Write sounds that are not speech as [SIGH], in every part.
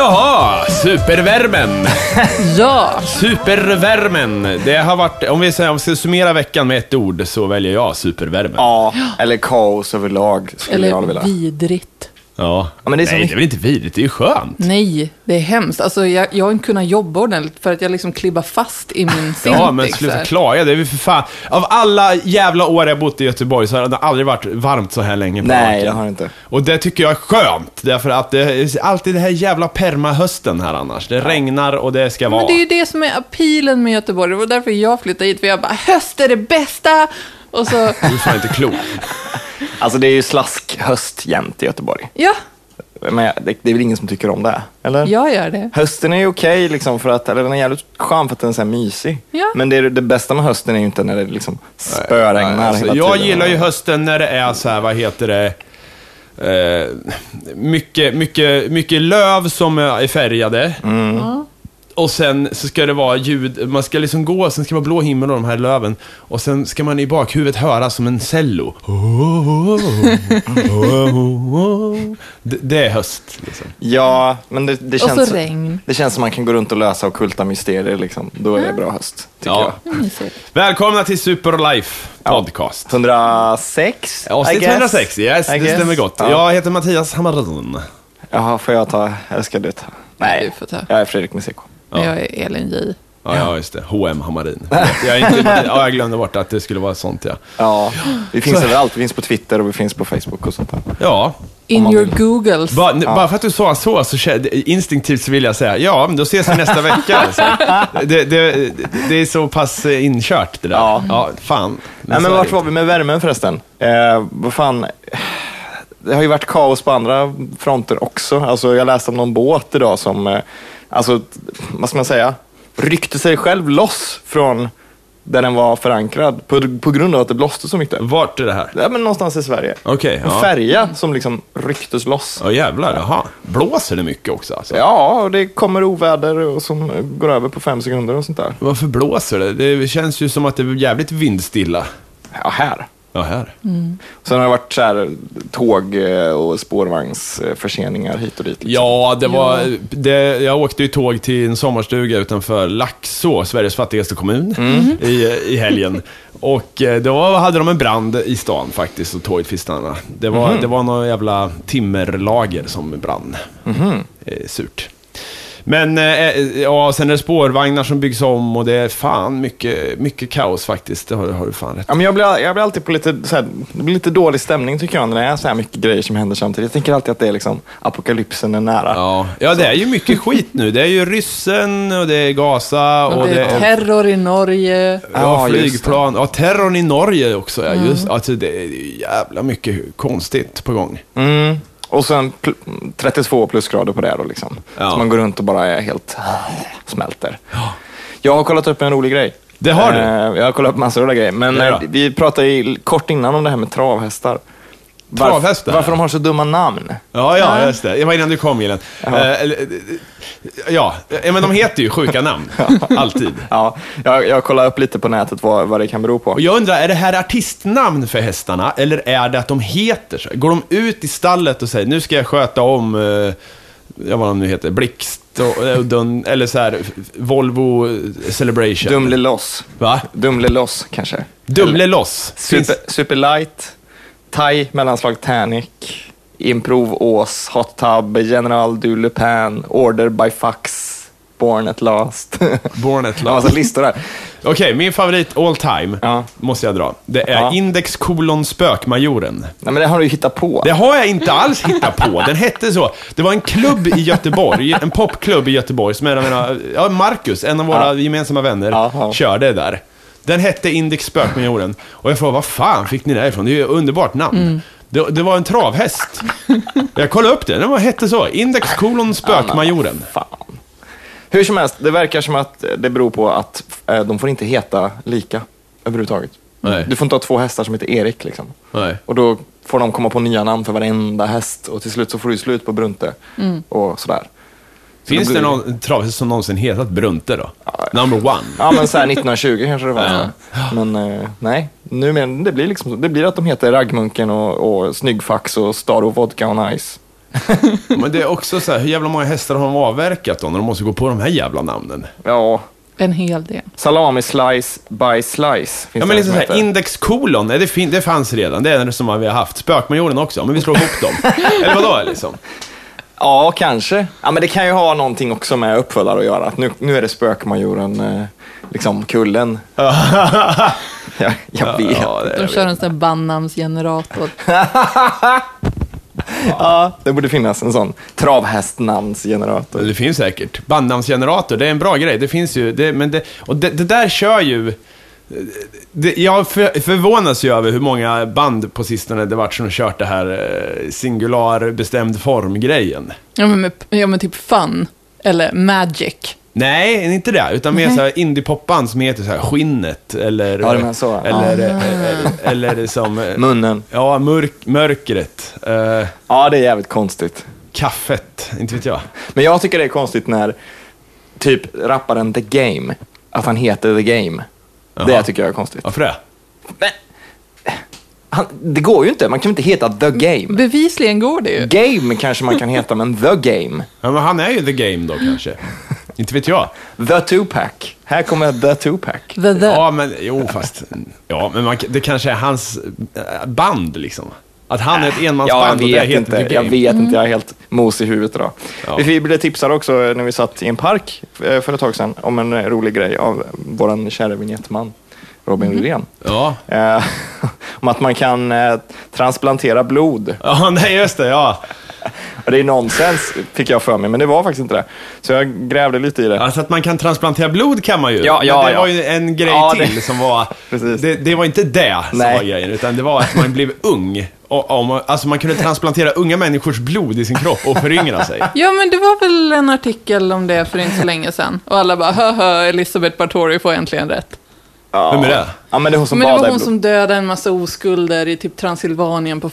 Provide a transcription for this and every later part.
Oh, Supervärmen! Ja, Supervärmen! Det har varit, om vi säger, om vi ska summera veckan med ett ord så väljer jag supervärmen. Ja, eller kaos överlag skulle jag vilja. eller vidrigt. Ja. Ja, men det är så Nej, mycket- det är väl inte vidrigt, det är ju skönt. Nej, det är hemskt. Alltså, jag, jag har inte kunnat jobba ordentligt för att jag liksom klibbar fast i min Cintiq. Ja, men så sluta här. klaga. Det är väl för fan... Av alla jävla år jag bott i Göteborg så har det aldrig varit varmt så här länge på Nej, marken. det har jag inte. Och det tycker jag är skönt, därför att det är alltid det här jävla permahösten här annars. Det regnar och det ska vara. Men det är ju det som är appealen med Göteborg. Det var därför jag flyttade hit. För jag bara, höst är det bästa! Och så, Du är fan inte klok. Alltså det är ju slaskhöst jämt i Göteborg. ja, Men jag- det, det är väl ingen som tycker om det, eller? jag gör det. Hösten är ju okej, liksom för att, eller den är jävligt skön för att den är så här mysig. Ja. Men det, är- det bästa med hösten är ju inte när det liksom spöregnar Alltså, hela jag tiden. gillar ju hösten när det är så här, vad heter det? Eh, mycket, mycket, mycket löv som är färgade. Och sen så ska det vara ljud, man ska liksom gå, sen ska det vara blå himmel och de här löven. Och sen ska man i bakhuvudet höra som en cello. Det, det är höst. Liksom. Ja, men det, det Och känns... så regn. Det känns som man kan gå runt och lösa ockulta mysterier liksom. Då är det bra höst, tycker Ja. jag. Välkomna till Superlife Podcast. 106? I Avsnitt guess. 106, yes, I det guess. stämmer gott. Ja. Jag heter Mattias Hammarin. Jaha, får jag ta? Eller ska du ta? Du får ta. Jag är Fredrik Museko. Men jag är Elin J. Ja, ja, just det. H.M. Hammarin. Jag, är inte, ja, jag glömde bort att det skulle vara sånt, ja. Ja, vi finns överallt. Vi finns på Twitter och vi finns på Facebook och sånt där. Ja, In man your vill. googles. bara, bara för att du sa så, så kände- instinktivt så vill jag säga, ja, men då ses vi nästa vecka. Alltså. [LAUGHS] Det, det, det är så pass inkört det där. Ja. fan. Nej, men så är vart det. var vi med värmen förresten? Eh, vad fan? Det har ju varit kaos på andra fronter också. Alltså, jag läste om någon båt idag som, eh, alltså, t- vad ska man säga, ryckte sig själv loss från där den var förankrad på, på grund av att det blåste så mycket. Vart är det här? Ja, men någonstans i Sverige. Okej, En ja. färja som liksom rycktes loss. Ja, jävlar. Jaha. Blåser det mycket också alltså? Ja, och det kommer oväder och som går över på fem sekunder och sånt där. Varför blåser det? Det känns ju som att det är jävligt vindstilla. Ja, här. Ja, här. Sen har det varit så här, tåg eh, och spårvagnsförseningar hit och dit. Liksom. Ja, det var, Ja. Det, jag åkte ju tåg till en sommarstuga utanför Laxå, Sveriges fattigaste kommun, Mm. i, i helgen. Och eh, då hade de en brand i stan faktiskt och tåget fick stanna. Det var, Mm. det var någon jävla timmerlager som brann. Mm-hmm. Eh, surt. Men eh, ja, sen är det spårvagnar som byggs om och det är fan mycket, mycket kaos faktiskt. Det har, har du fan rätt Ja, men jag, blir, jag blir alltid på lite, så här, det blir lite dålig stämning tycker jag när det är så här mycket grejer som händer samtidigt. Jag tänker alltid att det är liksom, apokalypsen är nära. Ja, ja, det är ju mycket skit nu. Det är ju ryssen och det är Gaza och, och det är terror i Norge. Ja, Ja, just flygplan. Ja, terrorn i Norge också. Ja. Just, alltså, det är ju jävla mycket konstigt på gång. Mm. Och sen pl- 32 plusgrader på det då liksom. Ja. Så man går runt och bara är helt äh, smälter. Jag har kollat upp en rolig grej. Det har du? Eh, Jag har kollat upp massa roliga grejer. Men Nej då. eh, vi pratade ju kort innan om det här med travhästar. Varf- Travhästar? Varför de har så dumma namn. Ja, ja, just det. Det var innan du kom, Gillen. Ja. ja, eh, men de heter ju sjuka [LAUGHS] namn. Alltid. Ja, jag, jag kollade upp lite på nätet vad, vad det kan bero på. Och jag undrar, är det här artistnamn för hästarna eller är det att de heter så? Går de ut i stallet och säger nu ska jag sköta om, eh, ja vad de nu heter, Blixt och, eh, Dun- eller så här, Volvo Celebration. Dumle loss. Va? Dumle loss kanske. Dumle loss. Finns- Super, Superlight, Thai, mellanslag Tanic, Improv Ås, Hot Tub, General Du Le Pen, Order by Fax, Born at Last. [LAUGHS] Born at Det var last. massa listor där. Okej, min favorit all time Ja. måste jag dra. Det är Ja. Index kolon spökmajoren. Nej, men det har du ju hittat på. Det har jag inte alls hittat på. Den hette så. Det var en klubb i Göteborg, en popklubb i Göteborg, som är av mina, ja, Marcus, en av våra Ja. gemensamma vänner, Ja, ja. körde där. Den hette Index spökmajoren. Och jag frågade, vad fan fick ni det ifrån? Det är ju ett underbart namn. Det, det var en travhäst. Jag kollade upp det, den var, hette så. Index kolon spökmajoren. Fan. Hur som helst, det verkar som att det beror på att eh, de får inte heta lika överhuvudtaget. Nej. Du får inte ha två hästar som heter Erik liksom. Nej. Och då får de komma på nya namn för varenda häst och till slut så får du slut på Brunte och sådär. Så Finns då det blir- någon travhäst som någonsin hetat Brunte då? Number one. Ja, men så här 1920 kanske det var. Ja. Men eh, nej, nu men det blir liksom så. Det blir att de heter Raggmunken och, och Snyggfax och Star och Vodka och Nice. Men det är också så här, hur jävla många hästar har de avverkat då när de måste gå på de här jävla namnen? Ja, En hel del. salami slice by slice. Finns Ja det men en som liksom så här, heter. index kolon, nej, det, fin- det fanns redan, det är det som vi har haft. Spökmajoren också, men vi slår ihop dem. Eller vadå liksom? Ja, kanske. Ja, men det kan ju ha någonting också med uppföljare att göra. Att nu, nu är det spökmajoren, eh, liksom kullen. [LAUGHS] jag, jag [LAUGHS] vet. Ja, det, De jag kör vet. en sån här bandnamnsgenerator. Ja, det borde finnas en sån travhästnamnsgenerator. det finns säkert. Bandnamnsgenerator, det är en bra grej. Det finns ju, det, men det, och det, det där kör ju... Det, jag för, förvånas ju över hur många band på sistone det varit som kört det här eh, singular bestämd form-grejen. Ja men, med, ja, men typ fun. Eller magic. Nej, inte det. Utan mer så här indiepopband som heter så här Skinnet eller... Ja, du menar så. Eller, eller, eller som... eh, Munnen. Ja, mörk, mörkret. Eh, Ja, det är jävligt konstigt. kaffet, inte vet jag. Men jag tycker det är konstigt när typ rapparen The Game, att han heter The Game. Det Jaha. tycker jag är konstigt. Varför det? Men, han, det går ju inte, man kan ju inte heta The Game. Bevisligen går det ju. Game kanske man kan heta, men The Game. Ja, men han är ju the game då kanske. inte vet jag. The Tupac. Här kommer The Tupac. The the. Ja, men jo, fast... Ja, men man, det kanske är hans eh, band liksom. Att han är ett Äh, Ja, jag enmansband och det vet heter inte. the Jag game. vet Mm. inte, jag är helt mos i huvudet idag. Ja. Vi blev tipsade också när vi satt i en park eh, för ett tag sedan om en eh, rolig grej av vår kära vignettman Robin Mm. Rydén. Ja. Eh, [LAUGHS] om att man kan eh, transplantera blod. Ja, nej just det, ja. Och Det är nonsens, fick jag för mig, men det var faktiskt inte det. Så jag grävde lite i det. Alltså att man kan transplantera blod kan man ju. Ja, ja, men det ja. var ju en grej Ja, det- till som var... [LAUGHS] Precis. Det, det var inte det som Nej. var grejen, utan det var att man [LAUGHS] blev ung. Och, och, man- alltså man kunde transplantera unga människors blod i sin kropp och föryngra [LAUGHS] sig. Ja, men det var väl en artikel om det för inte så länge sedan. Och alla bara, höhö, Elisabeth Bartori får äntligen rätt. Ja. Vem är det? Ja, men det är hon som men det badar var i hon blod. som dödade en massa oskulder i typ Transsylvanien på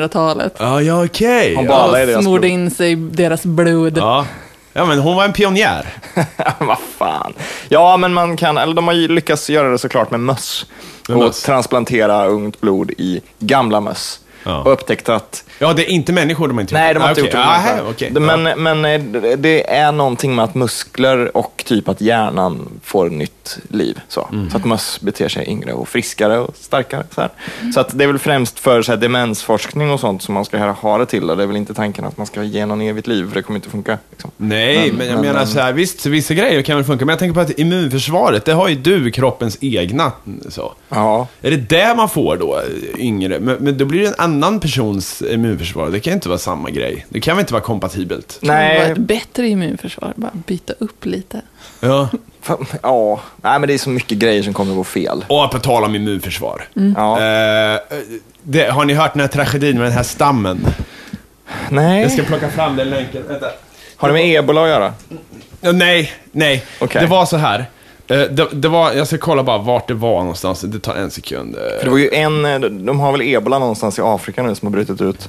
1500-talet. Ja, ja okej. Hon Ja. bara- Alla i och deras smorde blod. in sig i deras blod. Ja. ja, men hon var en pionjär. [LAUGHS] Vad fan. Ja, men man kan, eller de har ju lyckats göra det såklart med möss. Med och möss. transplantera ungt blod i gamla möss. Ja. Och upptäckt att, Ja, det är inte människor de har inte nej de har Ah, inte okej. gjort det. Ah, okej. Det- Men, men eh, det är någonting med att muskler och typ att hjärnan får nytt liv. Så, Mm. så att möss beter sig yngre och friskare och starkare. Så, här. så att det är väl främst för så här, demensforskning och sånt som man ska ha det till. Och det är väl inte tanken att man ska ge någon evigt liv, för det kommer inte funka. Liksom. Nej, men, jag menar så här, visst, vissa grejer kan väl funka, men jag tänker på att immunförsvaret, det har ju du kroppens egna. Så. Ja. Är det det man får då, yngre? Men, men då blir det en annan persons immunförsvar. Det kan ju inte vara samma grej. Det kan väl inte vara kompatibelt? Det var Nej, ett bättre immunförsvar, bara byta upp lite. Ja. Fan, Ja, nej men det är så mycket grejer som kommer gå fel. Och på tal om immunförsvar. Ja. Eh, det, har ni hört den här tragedin med den här stammen? Jag ska Nej. plocka fram den länken. Vänta. Har det med ebola att göra? Ja, Nej, nej. Okej. Det var så här. Eh, det, det var, jag ska kolla bara vart det var någonstans. Det tar en sekund. Eh, För det var ju en, eh, de har väl ebola någonstans i Afrika nu som har brutit ut.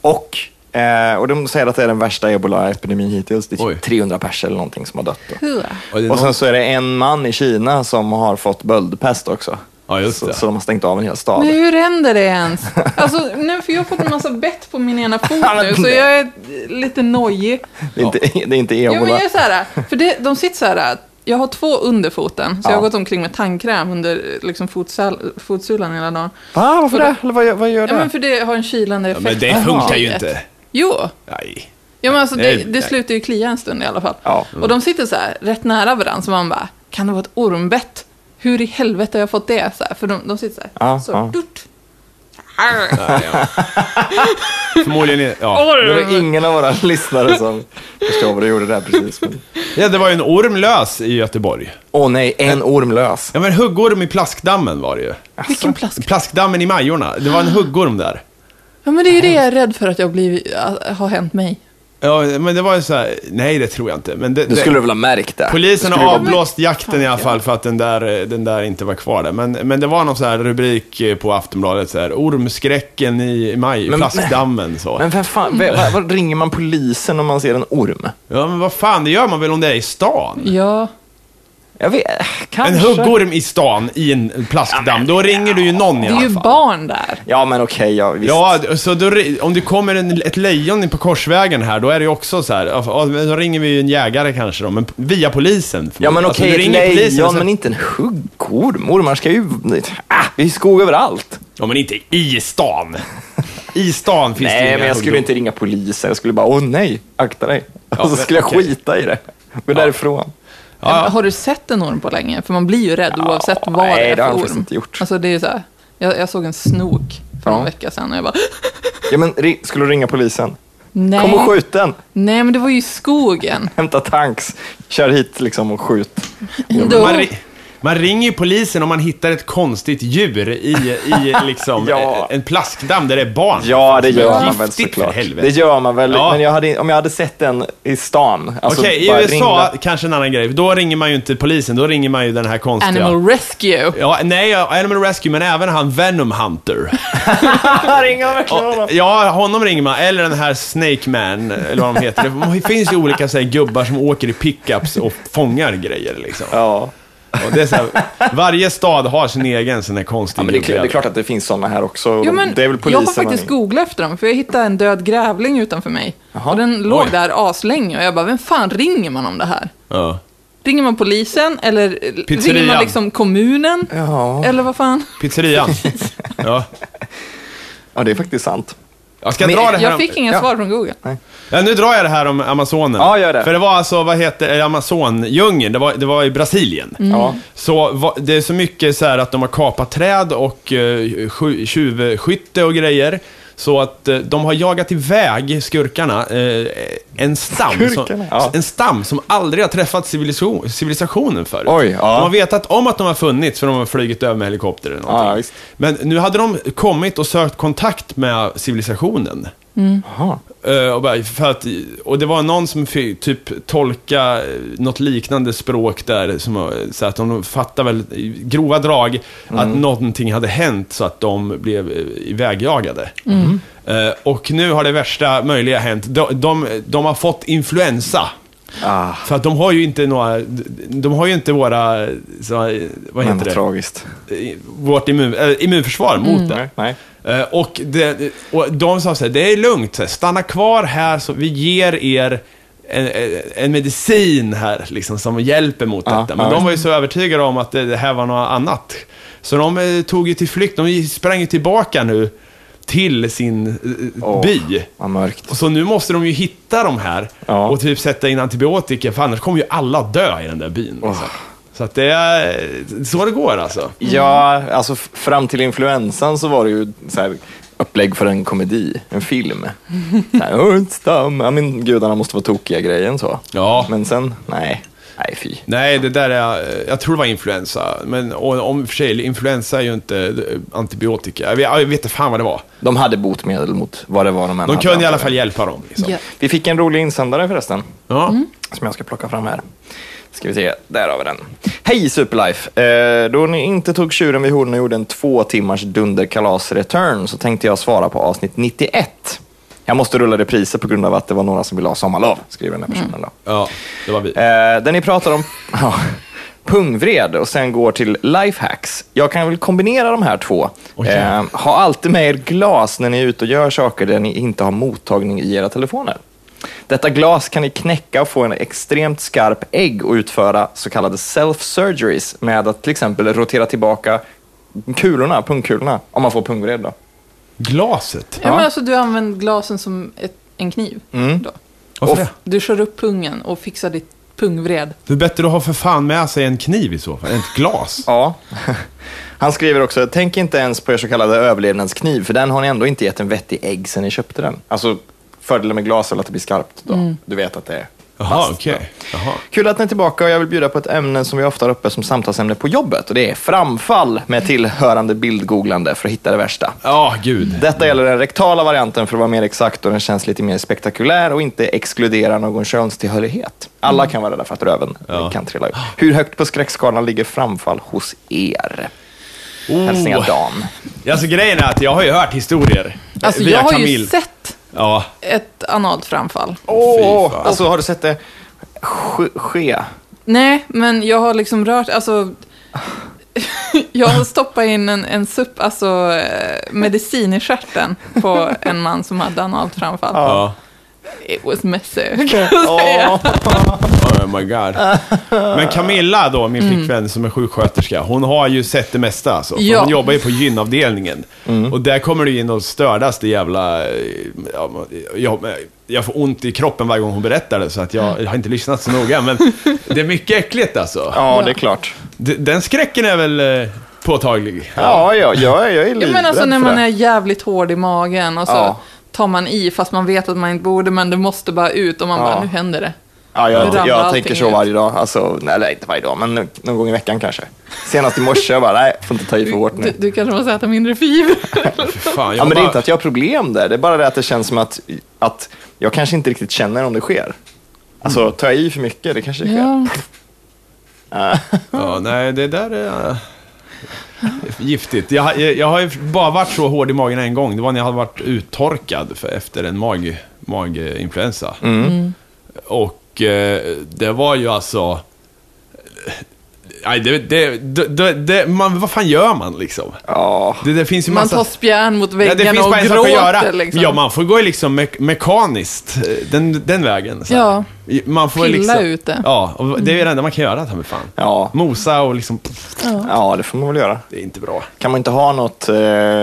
Och, eh, och de säger att det är den värsta ebola-epidemin hittills. Det är Oj. typ 300 pers eller någonting som har dött. Då. Hua. och det är Och någon- sen så är det en man i Kina som har fått böldpest också. Ja, just så, det. så de har stängt av en hel Men stad. hur händer det ens? Alltså, nu, för jag har fått en massa bett på min [LAUGHS] ena fot nu, så jag är lite nojig. Det är inte, det är inte Jo, men ebola. jag är så här, för det, de sitter så här, jag har två under foten, så jag har Ja. gått omkring med tandkräm under liksom, fotsal, fotsulan hela dagen. Va, varför det? Eller vad, gör- vad gör Ja, men det? för det har en kylande effekt. men det på funkar huvudet. ju inte. Jo, Nej. ja, men alltså, det, Nej, nej. det slutar ju klia en stund i alla fall. Ja. Och de sitter så här, rätt nära varandra, så man bara, kan det vara ett ormbett? Hur i helvete har jag fått det? Så här, för de, de sitter så här, Ja, så, ja. durt. Arr. Förmodligen är- ja. Det var ingen av våra [LAUGHS] lyssnare som förstår vad du gjorde där precis. men- ja, det var ju en orm lös i Göteborg. Åh nej, en orm lös. Ja, men huggorm i plaskdammen var det ju. Vilken plask. Plaskdammen i Majorna. Det var Ah. en huggorm där. Ja, men det är ju det jag är rädd för att jag blivit, har hänt mig. Ja, men det var ju så här, nej det tror jag inte. Men det, Du det, skulle väl ha märkt det? polisen Du skulle har ju- avblåst jakten i alla fall för att den där, eh, den där inte var kvar där. Men, men det var någon så här rubrik eh, på Aftonbladet så här, ormskräcken i maj, i Men- plaskdammen så. Men vem fan, vem, Mm. vad, vad ringer man polisen om man ser en orm? ja men vad fan, det gör man väl om det är i stan? Ja. Jag vet, äh, kanske. En huggorm i stan i en plaskdamm, då ringer du ju någon i Det är alla ju fall. barn där. Ja, men okej, ja, visst. Ja, så då, ri- om det kommer en, ett lejon på korsvägen här, då är det ju också så här, alltså, ja, ja, men då ringer vi ju en jägare kanske då, men via polisen. Ja men Alltså, okej, du ett ringer lejon, polisen och sen- men inte en huggorm. Ormar ska ju... Ah, vi är skog överallt. Ja, men inte i stan. I stan finns det ju Nej, inga men jag skulle huggorm. inte ringa polisen. Jag skulle bara, åh nej, akta dig. Och så men skulle jag okej. skita i det. Gå därifrån. Ja. Har du sett en orm på länge? För man blir ju rädd oavsett vad nej, det är det har jag för faktiskt orm. inte gjort. Alltså, det är ju så här, jag, jag såg en snok för Ja. någon vecka sedan och jag bara, [LAUGHS] Ja, men ri- skulle du ringa polisen? nej. Kom och skjut den. Nej, men det var ju i skogen. Hämta tanks. Kör hit liksom och skjut. Då- Man, ri- man ringer ju polisen om man hittar ett konstigt djur i, [LAUGHS] i liksom, Ja. en plaskdamm där det är barn. Ja, det gör man Giftigt, väl för såklart. helvete. Det gör man väl. Ja. Men jag hade, om jag hade sett den i stan. Alltså, Okej, bara i USA ringla- kanske en annan grej. Då ringer man ju inte polisen, då ringer man ju den här konstiga... Animal Rescue. Ja, nej, ja, Animal Rescue, men även han Venom Hunter. Ringer man verkligen honom? Ja, honom ringer man. Eller den här Snake Man, eller vad de heter. Det finns ju olika så här, gubbar som åker i pickups och fångar grejer liksom. Ja. Och det är så här, varje stad har sin egen sån här konstig Ja, men det, är klart, det är gubbe. klart att det finns sådana här också. Jo, men det är väl jag polisen har faktiskt man- googlat efter dem, för jag hittade en död grävling utanför mig. Jaha. Och den låg Oj. där aslänge och jag bara, vem fan ringer man om det här? Ja. Ringer man polisen eller eh, ringer Pizzerian. man liksom kommunen? Ja. Eller vad fan? Pizzerian. Ja. ja, det är faktiskt sant. Jag ska Men dra det här Jag om- fick inga Ja. svar från Google. Ja, nu drar jag det här om Amazonen. Ja, gör det. För det var alltså, vad heter eh, Amazondjungeln, det var, det var i Brasilien. Mm. Ja. Så va, det är så mycket så här att de har kapat träd och eh, sju- tjuvskytte och grejer. Så att eh, de har jagat iväg skurkarna, eh, en, stam som, Skurkarna, ja. en stam som aldrig har träffat civilisation, civilisationen förut. Oj, ja. De har vetat om att de har funnits för de har flugit över med helikopter eller någonting. Ja, visst. Men nu hade de kommit och sökt kontakt med civilisationen. Jaha. Eh, Och, bara, för att, och det var någon som fick typ tolka eh, något liknande språk där, som, eh, så att de fattar väl i grova drag att någonting hade hänt så att de blev eh, ivägjagade. Eh, Och nu har det värsta möjliga hänt. De, de, de har fått influensa. Ah, För att de har ju inte några, de har ju inte våra, så, vad men heter vad det? tragiskt. Eh, Vårt immun, äh, immunförsvar mot det. Nej, nej. Eh, Och, det, och de sa så här, det är lugnt, så här, stanna kvar här så vi ger er en, en- en medicin här liksom, som hjälper mot Ja, detta. Men ja, de visst. var ju så övertygade om att det, det här var något annat. Så de eh, tog ju till flykt, de sprang ju tillbaka nu till sin eh, Åh. by. Vad mörkt. Och så nu måste de ju hitta de här Ja. och typ sätta in antibiotika, för annars kommer ju alla dö i den där byn. Liksom. Så att det är så det går alltså. Ja, alltså f- fram till influensan så var det ju så här, upplägg för en komedi, [LAUGHS] en film. Så här, "Åh, en stam. Ja, men gudarna måste vara tokiga grejen så. Ja. Men sen, nej. Nej, fy. Nej, det där är, eh, jag tror det var influensa. Men och, om i och för sig, influensa är ju inte eh, antibiotika. Jag vet, jag vet inte fan vad det var. De hade botemedel mot vad det var de än De kunde hade i alla använt. fall hjälpa dem. Liksom. Ja. Mm. Vi fick en rolig insändare förresten. Ja. som jag ska plocka fram här. Ska vi se, där har vi den. Hej Superlife! Eh, då ni inte tog tjuren vid hornen och gjorde en två timmars dunderkalas-return så tänkte jag svara på avsnitt 91. Jag måste rulla repriser på grund av att det var några som ville ha sommarlov, skriver den här personen då. ja, det var vi. Eh, där ni pratar om [LAUGHS] ja, pungvred och sen går till lifehacks. Jag kan väl kombinera de här två. Oj. Eh, ha alltid med er glas när ni är ute och gör saker där ni inte har mottagning i era telefoner. Detta glas kan ni knäcka och få en extremt skarp ägg och utföra så kallade self-surgeries med att till exempel rotera tillbaka kulorna, pungkulorna, om man får pungvred då. Glaset. Ja, Ja. Mm. men alltså, du använder glasen som ett, en kniv. Då. Varför Och- det? Du kör upp pungen och fixar ditt pungvred. Eh, Det är bättre att ha för fan med sig en kniv i så fall. Ett glas. Ja. [LAUGHS] Han skriver också, tänk inte ens på er så kallade överlevnadskniv, för den har ni ändå inte gett en vettig ägg sen ni köpte den. Alltså, fördelen med glas är väl att det blir skarpt då. Du vet att det är Jaha, fast okej. då. Jaha. Kul att ni är tillbaka och jag vill bjuda på ett ämne som vi ofta har uppe som samtalsämne på jobbet och det är framfall med tillhörande bildgooglande för att hitta det värsta. Ja, gud. Detta gäller den rektala varianten för att vara mer exakt och den känns lite mer spektakulär och inte exkluderar någon könstillhörighet. Alla kan vara rädda för att röven Mm. Ja. kan trilla ut. Hur högt på skräckskalan ligger framfall hos er? Hälsningar Oh. Dan. Alltså grejen är att jag har ju hört historier. Alltså, via jag har Camille. ju sett Ja. ett analt framfall. Åh, Alltså har du sett det ske? ske? Nej, men jag har liksom rört, alltså... [LAUGHS] jag har stoppat in en, en SUP, alltså eh, medicin i stjärten på en man som hade analt framfall. Ja. It was messy, kan jag säga. Åh, Oh my god. Men Camilla då, min flickvän som är sjuksköterska, hon har ju sett det mesta alltså. För Ja. Hon jobbar ju på gynavdelningen. Och där kommer du in och stördas det jävla... eh, Ja, jag, jag får ont i kroppen varje gång hon berättar det, så att jag, jag har inte lyssnat så noga. Men det är mycket äckligt alltså. ja, det är klart. D- Den skräcken är väl eh, påtaglig? Ja, ja, jag, är- jag är Ja, livrädd men alltså när för man det. är jävligt hård i magen och så Ja. tar man i fast man vet att man inte borde, men det måste bara ut och man Ja. bara, nu händer det. Ja, Då jag, ramlar jag allting tänker så ut. varje dag. Alltså, nej, eller inte varje dag, men nu- någon gång i veckan kanske. Senast i morse, jag bara, nej, får inte ta i för hårt Du, nu. du kanske måste äta [LAUGHS] mindre fibrer. [LAUGHS] Fy fan, jag Ja, men det är bara- inte att jag har problem där, det är bara det att det känns som att, att jag kanske inte riktigt känner om det sker. Alltså, Mm. tar jag i för mycket, det kanske sker. ja. Ja, nej, det där är eh, giftigt. Jag, jag, jag har ju bara varit så hård i magen en gång. Det var när jag hade varit uttorkad för, efter en mag, maginfluensa. Mm. Och eh, det var ju alltså... Nej, det, det, det, det, det, man, vad fan gör man liksom? Ja, Det, det finns ju Man massa... tar spjärn mot Ja, det väggen finns och bara en sak att göra. gråter. Liksom. Ja, man får gå liksom me- mekaniskt eh, den, den vägen. Så här. Ja. Man får Pilla liksom, ut det. Ja, och det är ju det enda man kan göra, ta mig fan. ja, Mosa och liksom... ja, det får man väl göra. Det är inte bra. Kan man inte ha något, eh,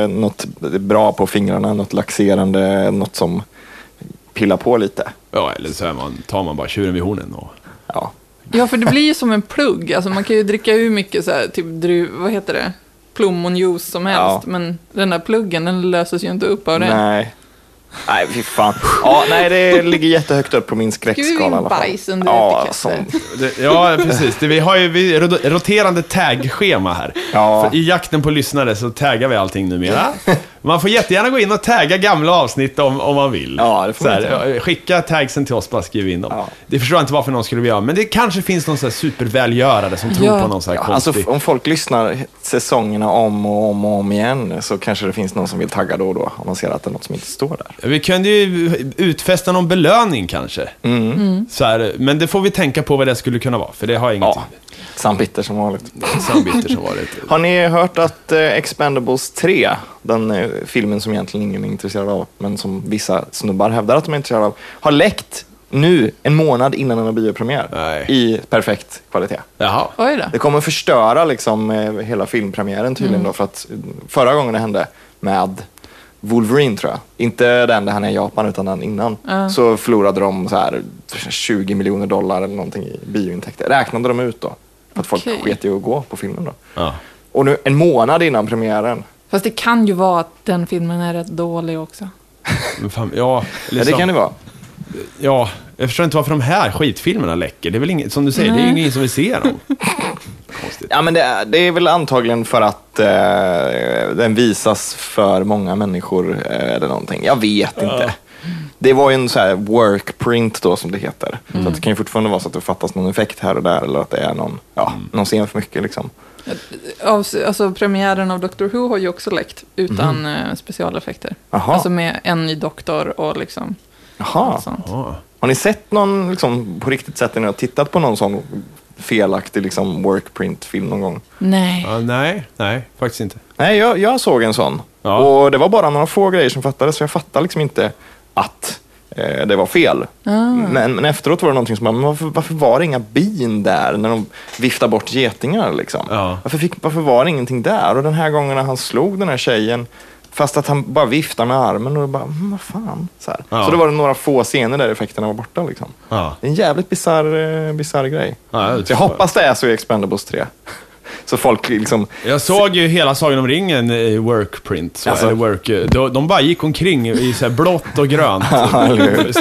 något bra på fingrarna, något laxerande, något som pillar på lite? Ja, eller så är man, tar man bara tjuren vid hornen och... Ja, Ja, för det blir ju som en plugg. Alltså, man kan ju dricka hur mycket så här, typ dru, vad heter det? plommonjuice som helst, Ja. men den där pluggen den löses ju inte upp av det. nej. Nej, fy fan. Ja, nej, det ligger jättehögt upp på min skräckskala i alla fall. bajs under etiketter. Det, ja, precis. Det, vi har ju vi, rot- roterande tag-schema här. Ja. För I jakten på lyssnare så taggar vi allting numera. Man får jättegärna gå in och tagga gamla avsnitt om, om man vill. Ja, det får så man här, ja, Skicka tagsen till oss, bara skriv in dem. Ja. Det förstår jag inte varför någon skulle vilja göra, men det kanske finns någon så här supervälgörare som tror Ja. på någon så här Ja, konstig... alltså f- om folk lyssnar säsongerna om och om och om igen så kanske det finns någon som vill tagga då och då om man ser att det är något som inte står där. Vi kunde ju utfästa någon belöning kanske. Så här, men det får vi tänka på vad det skulle kunna vara, för det har jag ingenting. Mm. Ja, sambitter som vanligt. Sambitter som varit. Har ni hört att eh, Expendables 3, den eh, filmen som egentligen ingen är intresserad av, men som vissa snubbar hävdar att de är intresserade av, har läckt nu, en månad innan den har biopremiär, Nej. i perfekt kvalitet. Jaha. Oj då. Det kommer förstöra liksom eh, hela filmpremiären tydligen då för att eh, förra gången det hände med Wolverine tror jag, inte den där han är i Japan utan den innan, så förlorade de så här 20 miljoner dollar eller någonting i biointäkter. Räknade de ut då. För att Okej. folk sket i att gå på filmen då. Ja. Och nu en månad innan premiären. Fast det kan ju vara att den filmen är rätt dålig också. Men fan, ja, Ja, liksom, det kan det vara. ja, jag förstår inte varför de här skitfilmerna läcker. Det är väl inget, som du säger, det är ju ingen som vill se dem. Konstigt. Ja, men det, är, det är väl antagligen för att eh, den visas för många människor eh, eller någonting. Jag vet inte. Det var ju en så här workprint då som det heter. Så att det kan ju fortfarande vara så att det fattas någon effekt här och där eller att det är någon, ja, någon scen för mycket liksom. Av, alltså premiären av Doctor Who har ju också läckt Mhm. utan eh, specialeffekter. Jaha. Alltså med en ny doktor och liksom Jaha. allt sånt. Ja. Har ni sett någon liksom, på riktigt sätt när ni har tittat på någon sån felaktig liksom, workprint-film någon gång? Nej. Ja, nej, nej, faktiskt inte. Nej, jag, jag såg en sån. Ja. Och det var bara några få grejer som fattades, så jag fattade liksom inte att eh, det var fel. Men, men efteråt var det någonting som bara, men varför, varför var det inga bin där när de viftade bort getingar? Liksom? Ja. Varför, fick, varför var det ingenting där? Och den här gången när han slog den här tjejen, fast att han bara viftade med armen och bara, "Mm, vad fan. Så, här. Ja. så det var det några få scener där effekterna var borta. Liksom. Ja. Det är en jävligt bisarr eh, bisarr grej. Ja, det så jag förstår hoppas det är så i Expendables 3. [LAUGHS] Så folk liksom Jag såg ju hela Sagan om ringen i workprint. Så, Alltså. eller work, eh, de, de bara gick omkring i så här blått och [LAUGHS] grönt. så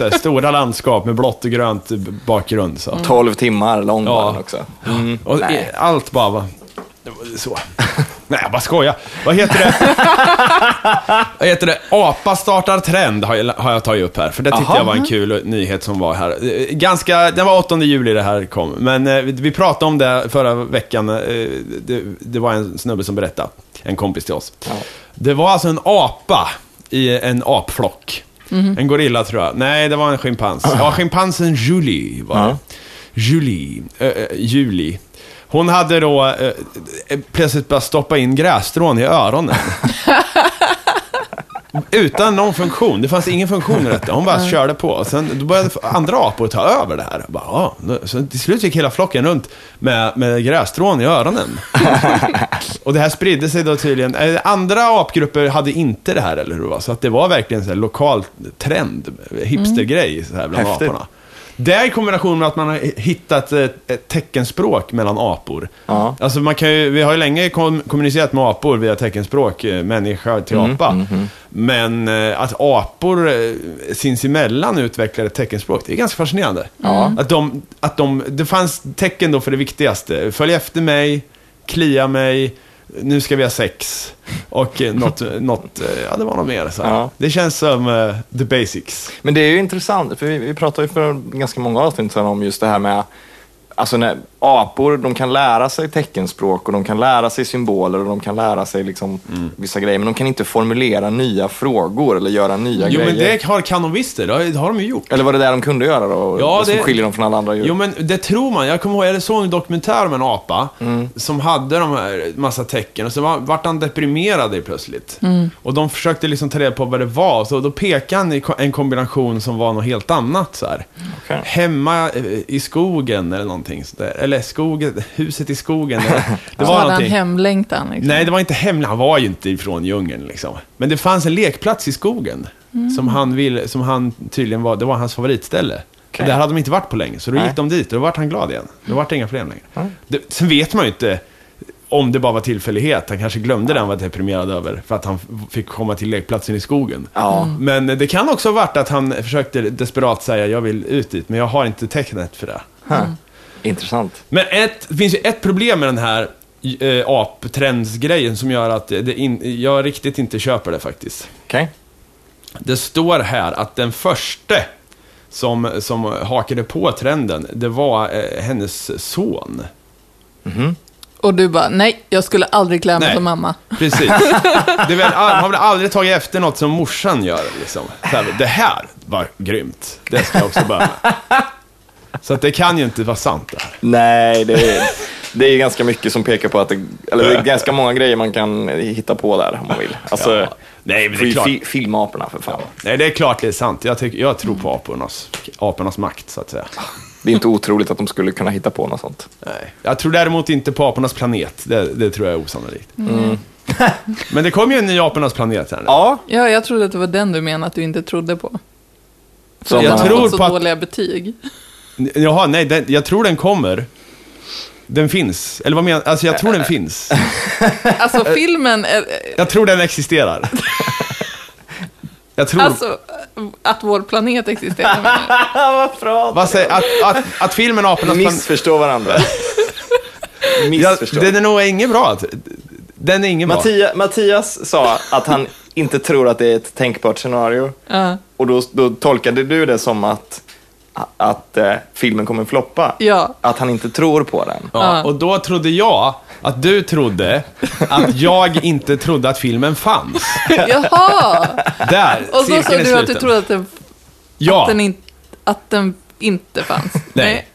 här, stora landskap med blått och grönt bakgrund. Så. 12 timmar lång Ja. var den också. Mm. Och Nej. i- allt bara va? det var så. Nej, jag bara skojar. Vad heter [LAUGHS] det? Vad heter det? Apa startar trend har jag, har jag tagit upp här. För det tyckte Aha. jag var en kul nyhet som var här. Eh, Ganska, den var 8 juli det här kom. Men eh, vi- vi pratade om det förra veckan. eh, Det, det var en snubbe som berättade. En kompis till oss. Det var alltså en apa i en apflock. En gorilla tror jag. Nej, det var en schimpans. Ja, schimpansen Julie var det. Julie, eh, eh, Julie. Hon hade då eh, plötsligt börjat stoppa in grässtrån i öronen. Utan någon funktion. Det fanns ingen funktion i detta. Hon bara körde på. Och sen då började andra apor ta över det här. Bara, "Ah." så till slut gick hela flocken runt med, med grässtrån i öronen. och det här spridde sig då tydligen. Eh, Andra apgrupper hade inte det här, eller hur det var? Så att det var verkligen en sån här lokal trend, hipstergrej, så här bland Häftigt. aporna. Där i kombination med att man har hittat ett, ett teckenspråk mellan apor. Ja. Alltså man kan ju, vi har ju länge kom, kommunicerat med apor via teckenspråk, eh, människa till Mm, apa. Men eh, att apor eh, sinsemellan utvecklar ett teckenspråk, det är ganska fascinerande. Att, de, att de, det fanns tecken då för det viktigaste. Följ efter mig, klia mig, nu ska vi ha sex. Och eh, något, [LAUGHS] något eh, ja det var något mer. Så här. Ja. Det känns som eh, the basics. Men det är ju intressant, för vi, vi pratade ju för ganska många avsnitt sedan om just det här med Alltså när apor, de kan lära sig teckenspråk och de kan lära sig symboler och de kan lära sig liksom vissa grejer, men de kan inte formulera nya frågor eller göra nya Jo grejer. men det har, kan de visst det, det har, det har de ju gjort. Eller var det där de kunde göra då? Ja, det som det- skiljer dem från alla andra djur? Jo men det tror man. Jag kommer ihåg, jag såg en dokumentär om en apa Mm. som hade de här massa tecken och så var, vart han deprimerad i plötsligt. Mm. Och de försökte liksom ta reda på vad det var, så då pekade han i ko- en kombination som var något helt annat så här. Okej. Hemma eh, i skogen eller någonting sådär. Eller skogen, huset i skogen. eller- [LAUGHS] Det Så var hade han någonting. hemlängtan. Liksom. Nej, det var inte hemligt. Han var ju inte ifrån djungeln liksom. Men det fanns en lekplats i skogen. Mm. Som, han ville, som han tydligen var, det var hans favoritställe. Okej. Och där hade de inte varit på länge, så då Nej. gick de dit och då vart han glad igen. Då vart det inga problem längre. Det, sen vet man ju inte om det bara var tillfällighet. Han kanske glömde den han var deprimerad över för att han f- fick komma till lekplatsen i skogen. Ja. Men det kan också ha varit att han försökte desperat säga jag vill ut dit, men jag har inte tecknet för det. Huh. Intressant. Men ett, det finns ju ett problem med den här eh, aptrendsgrejen som gör att det in, jag riktigt inte köper det faktiskt. Okej. Det står här att den första som, som hakade på trenden, det var eh, hennes son. Och du bara, nej, jag skulle aldrig klä mig Nej. som mamma. Precis. Det är väl, man har väl aldrig tagit efter något som morsan gör. Liksom. Så här, det här var grymt. Det ska jag också börja med. Så att det kan ju inte vara sant det här. Nej, det är, det är ganska mycket som pekar på att det, eller det är ganska många grejer man kan hitta på där om man vill. Alltså, Ja. Nej, men det får är ju klart. fi, filma aporna för fan. Nej, det är klart det är sant. Jag, tycker, jag tror på apornas, apornas makt, så att säga. Det är inte otroligt att de skulle kunna hitta på något sånt. Nej. Jag tror däremot inte på apornas planet. Det, det tror jag är osannolikt. [LAUGHS] Men det kom ju en ny apornas planet här nu. Ja, Ja, jag trodde att det var den du menade att du inte trodde på. som Jag man- tror [LAUGHS] så på att- dåliga betyg. Jaha, nej, den, jag tror den kommer. Den finns. Eller vad menar Alltså jag tror den finns. [LAUGHS] Alltså filmen, är, Jag tror den existerar. Jag tror... alltså att vår planet [LAUGHS] existerar. menar jag. Vad bra. vad säger, att, att, att filmen Apornas planet... Missförstå varandra. Ja, Missförstå. den är nog ingen bra. Den är ingen bra. Mattia, Mattias sa att han inte tror att det är ett tänkbart scenario. Ja. Och då, då tolkade du det som att, att eh, filmen kommer floppa. Ja. Att han inte tror på den. Ja, och då trodde jag att du trodde att jag inte trodde att filmen fanns. Jaha! Där, Och så sa cirkeln är du att du sluten. trodde att den, ja. att den, in, att den inte fanns. Nej.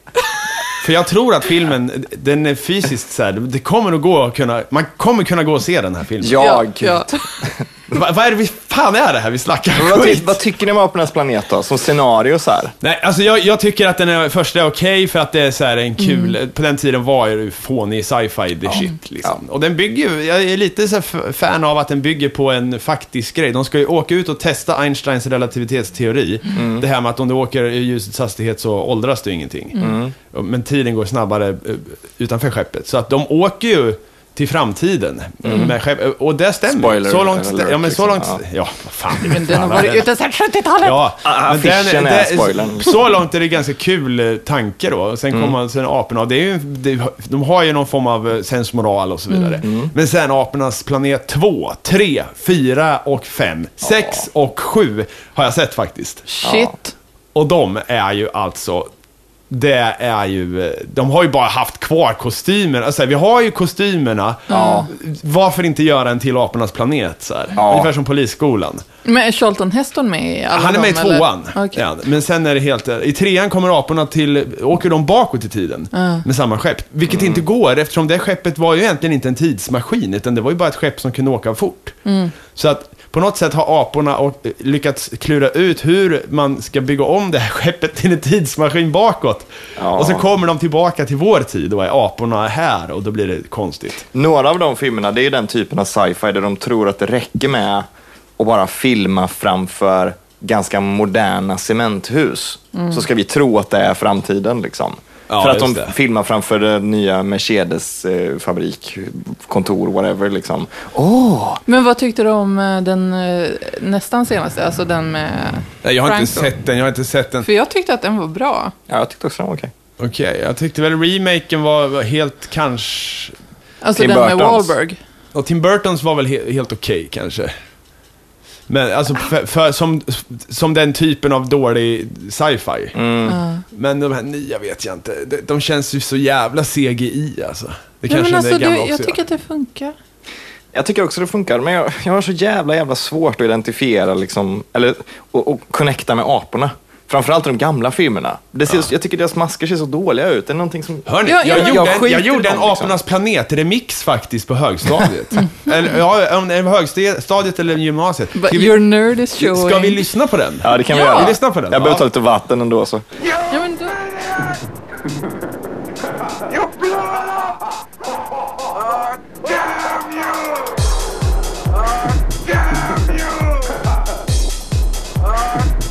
För jag tror att filmen, den är fysiskt så här, det kommer att gå att kunna, man kommer kunna gå och se den här filmen. Ja, gud. ja. Va, vad är det vi, fan är det här vi snackar Men Vad, ty, skit? vad tycker ni om Apornas planet då, som scenario så här? Nej, alltså jag, jag tycker att den är, första är okej för att det är så här en kul, Mm. på den tiden var ju fånig sci-fi the shit liksom. Och den bygger ju- jag är lite så här f- fan av att den bygger på en faktisk grej. De ska ju åka ut och testa Einsteins relativitetsteori. Mm. Det här med att om du åker i ljusets hastighet så åldras du ingenting. Mm. Men tiden går snabbare eh, utanför skeppet. Så att de åker ju till framtiden. Med skepp, och det stämmer. Mm. Spoiler så långt, stä- alert, ja men så liksom. långt, Ja. ja vad fan. det är Men den har fan varit värre. ute sedan 70-talet. Ja, Ah, men den- affischen är det- spoilern. Mm. Så långt är det ganska kul eh, tanke då. Och Sen kommer man- sen aporna, och det är ju, det, de har ju någon form av eh, sensmoral och så vidare. Mm. Men sen apornas planet 2, 3, 4 och 5, 6 och 7 har jag sett faktiskt. Shit. Och de är ju alltså, det är ju, eh, de har ju bara haft kvar kostymerna. Alltså, vi har ju kostymerna, Ja. varför inte göra en till Apornas planet? Så här? Ja. Ungefär som Polisskolan. Men är Charlton Heston med i alla Han är med i dem, eller? tvåan. Okej. Ja, men sen är det helt... eh, I trean kommer aporna till... Åker de bakåt i tiden med samma skepp. Vilket Mm. inte går eftersom det skeppet var ju egentligen inte en tidsmaskin. Utan det var ju bara ett skepp som kunde åka fort. Mm. Så att på något sätt har aporna och- eh, lyckats klura ut hur man ska bygga om det här [LAUGHS] skeppet till en tidsmaskin bakåt. Ja. Och så kommer de tillbaka till vår tid och är aporna här och då blir det konstigt. Några av de filmerna, det är ju den typen av sci-fi där de tror att det räcker med att bara filma framför ganska moderna cementhus. Så ska vi tro att det är framtiden liksom. Mm. Ja, För att de just det. filmar framför den nya Mercedes eh, fabrik, kontor, whatever liksom. Åh! Men vad tyckte du om eh, den eh, nästan senaste, alltså den med... Nej, jag har inte Franco? sett den, jag har inte sett den. För jag tyckte att den var bra. Ja, jag tyckte också den var okej. Okej, jag tyckte väl remaken var var helt kanske... Alltså Tim den med Burtons. Wahlberg. Och Tim Burtons var väl he helt okej kanske. Men alltså, för, för, som, som den typen av dålig sci-fi. Mm. Mm. Men de här nya vet jag inte. De, de känns ju så jävla CGI alltså. Det Nej, kanske men den alltså, där du, gamla jag också tycker gör. att det funkar. Jag tycker också det funkar, men jag, jag har så jävla, jävla svårt att identifiera liksom, eller och, och connecta med aporna. Framförallt de gamla filmerna. Det ser, Jag tycker deras masker ser så dåliga ut. Det är någonting som... Hörni, Ja, ja, jag, men- gjorde, Jag jag, jag skiter i gjorde en dem, liksom. Apornas planet-remix faktiskt på högstadiet. eller, ja, om det är på högstadiet eller gymnasiet. Mm. But Ska vi, your nerd is showing. ska vi lyssna på den? Ja, det kan vi Ja. göra. Vi lyssnar på den. Jag behöver Ja. ta lite vatten ändå. Så. ja, men då... You blew it up! Oh, damn you! Oh, damn you! Oh, damn you! Oh,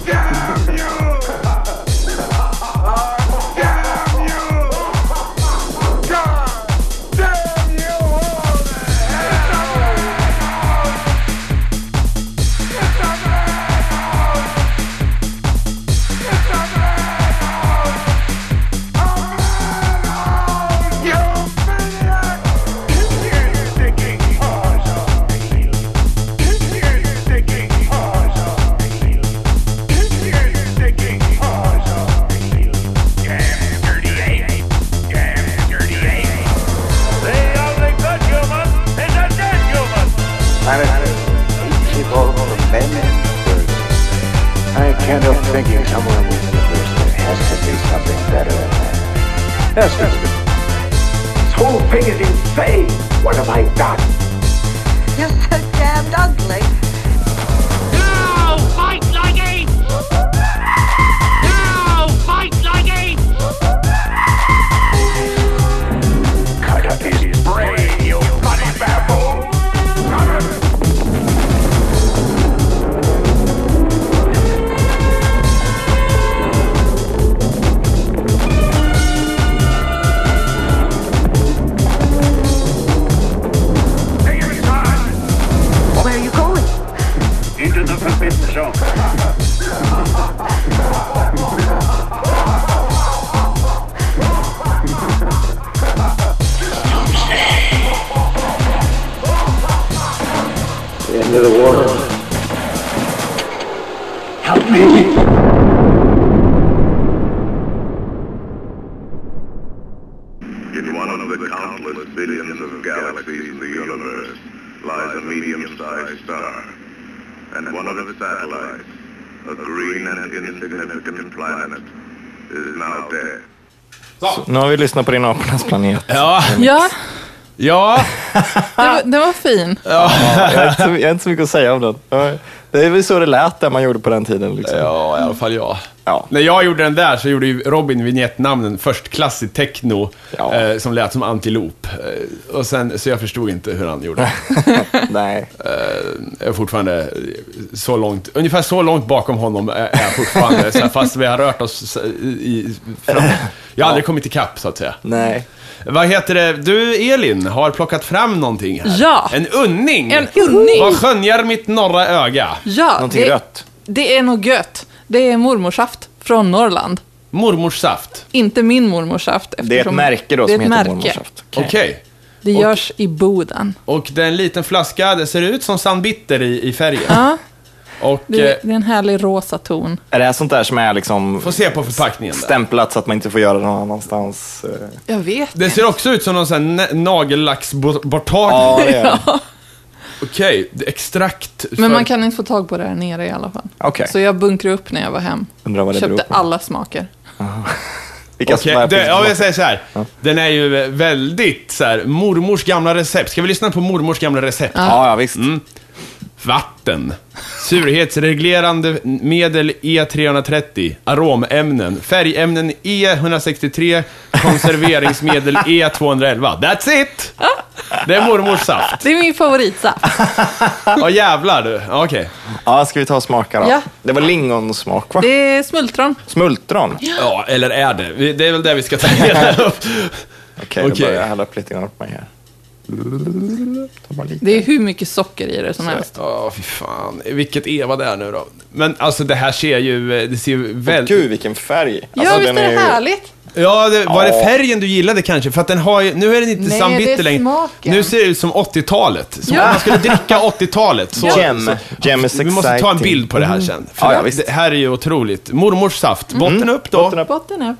damn you! God damn you all to You maniac! You stinking arsehole! You stinking arsehole! You stinking arsehole! Damn dirty ape! Damn dirty ape! The only good human is a dead human! I can't help thinking somewhere in the universe there has to be something better than that. Yes, This whole thing is insane. What have I done? You're so damned ugly. Now fight like apes! Now fight like apes! Cut up his brain, you bloody baboon! Cut him! Take him inside! Where are you going? Into the forbidden zone. Into the water. Help me. In one of the countless billions of galaxies in the universe lies a medium-sized star, and one of its satellites, a green and insignificant planet, is now dead. Nu har vi lyssnat på din apornas planet. Ja, Ja, ja. Ah. den var, den var fin. Jag har inte så- jag har inte så mycket att säga om den. Ja, Det är väl så det lät där man gjorde på den tiden. Liksom. Ja, i alla fall jag. Ja. När jag gjorde den där så gjorde ju Robin vignettnamnen förstklassig techno Ja. eh, som lät som antilop. Eh, och sen, så jag förstod inte hur han gjorde. Nej. Jag är fortfarande eh, så långt, ungefär så långt bakom honom är är jag fortfarande, så här, fast vi har rört oss eh, i, i fram. Jag har aldrig kommit ikapp så att säga. Nej. Vad heter det? Du Elin har plockat fram någonting här. Ja. En unning! En unning. Vad skönjar mitt norra öga? Ja, Någonting det, rött. det är nog gött. Det är mormorsaft från Norrland. Mormors saft. Inte min mormorsaft. Det är ett eftersom- märke då det är som ett heter märke. Mormonsaft. Okej. Det görs i Boden. Och det är en liten flaska, det ser ut som San Bitter i, i färgen. Ja. Och Det, eh, är- det är en härlig rosa ton. Är det här sånt där som är liksom får se på förpackningen där. stämplat så att man inte får göra det någon annanstans? eh? Jag vet. Det ser också ut som någon sån här na- nagellacksborttagning. Ja, [LAUGHS] det är det. Okej, det är extrakt. för- Men man kan inte få tag på det här nere i alla fall. Okej. Så jag bunkrade upp när jag var hem. Undrar vad det beror Köpte på. alla smaker. Vilka Okej, som är det, ja, jag finns- säger så här. Den är ju eh, väldigt så här, mormors gamla recept. Ska vi lyssna på mormors gamla recept? ja, ja, visst. Vatten. Surhetsreglerande medel E E330. Aromämnen. Färgämnen E163. [LAUGHS] Konserveringsmedel E211. That's it! Det är mormors saft. Det är min favoritsaft. Ja jävlar du. Ja, Okej. Ja, ska vi ta och smaka då? Ja. Det var lingonsmak va? Det är smultron. Smultron? Ja, eller är det? Vi- Det är väl det vi ska ta reda [LAUGHS] på. Okej, då Okej. börjar jag hälla upp lite grann på mig här. Ta bara lite. Det är hur mycket socker i det som helst. Ja, fy fan. Vilket Eva det är nu då. Men alltså det här ser ju, eh, det ser ju väldigt... Gud, vilken färg! Alltså, ja, visst är det ju- härligt? Ja, det, var Ja. det färgen du gillade kanske? För att den har ju, nu är den inte Nej, det sambitter är längre. smaken. Nu ser det ut som 80-talet. Som Ja. om man skulle [LAUGHS] dricka 80-talet. Så, Gem. Gem is Vi måste ta en exciting. Mm. bild på det här sen. För Ja, ja, det- visst. Mm. Det här är ju otroligt. Mormors saft. Botten upp då. Botten upp. Botten upp.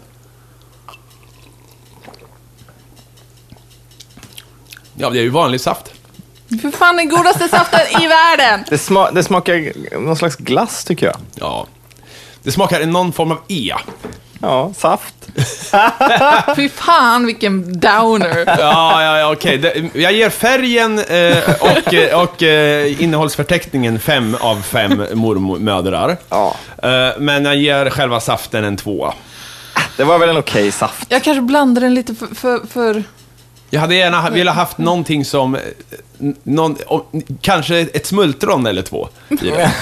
Ja, det är ju vanlig saft. För fan den godaste saften i världen! Det, sma det smakar någon slags glass tycker jag. Ja. Det smakar någon form av E. Ja, saft. Fy fan vilken downer. Ja, ja, ja okej. Det- Jag ger färgen eh, och, eh, och eh, innehållsförteckningen fem av fem mormödrar. Ja. Eh, men jag ger själva saften en tvåa. Det var väl en okej saft. Jag kanske blandar den lite för... för, för... Jag hade gärna ha- velat haft någonting som, eh, n- någon, om- kanske ett smultron eller två. i det.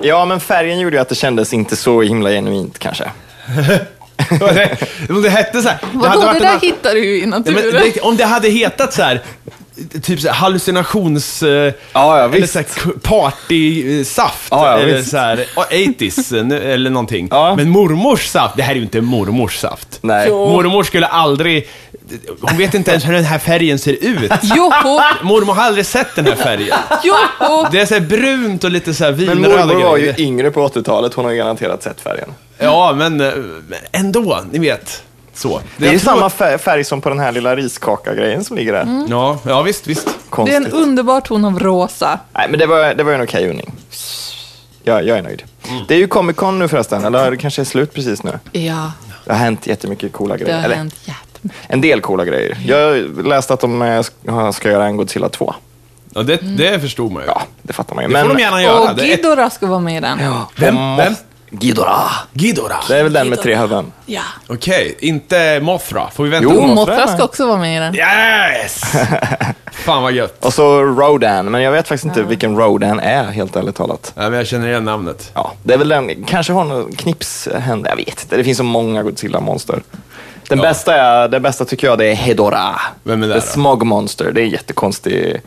Ja, men färgen gjorde ju att det kändes inte så himla genuint kanske. Det- Om det hette så här. det hade Vadå, det, varit en där annan- hittar du ju i Nej, naturen. men det, om det hade hetat så här, typ så här hallucinations... eh, ja, eller visst. så här k- partysaft. Ja, ja, eller visst. så här, och 80s eh, nu- eller någonting. Ja. Men mormors saft, det här är ju inte mormors saft. Nej. Jo. Mormor skulle aldrig... Hon vet inte ens hur den här färgen ser ut. Joho, Mormor har aldrig sett den här färgen. joho! [LAUGHS] Det är så här brunt och lite så här Men vinröda mormor grejer. var ju yngre på 80-talet, hon har ju garanterat sett färgen. Ja, men eh, men ändå, ni vet. Så. Det är ju jag tror- samma fär- färg som på den här lilla riskaka-grejen som ligger där. Ja, ja, visst, visst. Det är Konstigt. Mm. en underbar ton av rosa. Nej, men det var, det var ju en okej undning. Jag, jag är nöjd. Mm. Det är ju Comic Con nu förresten, eller det kanske är slut precis nu. Ja, Det har hänt jättemycket coola det grejer. har eller, hänt Mm. jättemycket. En del coola grejer. Jag läste att de eh, ska- ska göra en Godzilla 2. Ja, det, det förstod man ju. Ja, det fattar man ju. Det får de gärna göra. Och Det är ett- Ghidorah ska vara med i den. Ja. Vem? Vem? Ghidorah. Ghidorah. Det är väl den med tre huvuden? Okej, inte Mothra. Får vi vänta? Jo. på- Och Mothra är Mothra med. ska också vara med i [LAUGHS] den. Yes! Fan vad gött. Och så Rodan, men jag vet faktiskt inte vilken Rodan är, helt ärligt talat. Ja, men jag känner igen namnet. Ja, det är väl den, kanske har någon knipshänder, jag vet inte. Det finns så många Godzilla-monster. Den bästa är, det bästa tycker jag det är Hedorah. Vem är det The då? Smog Monster, det är jättekonstig.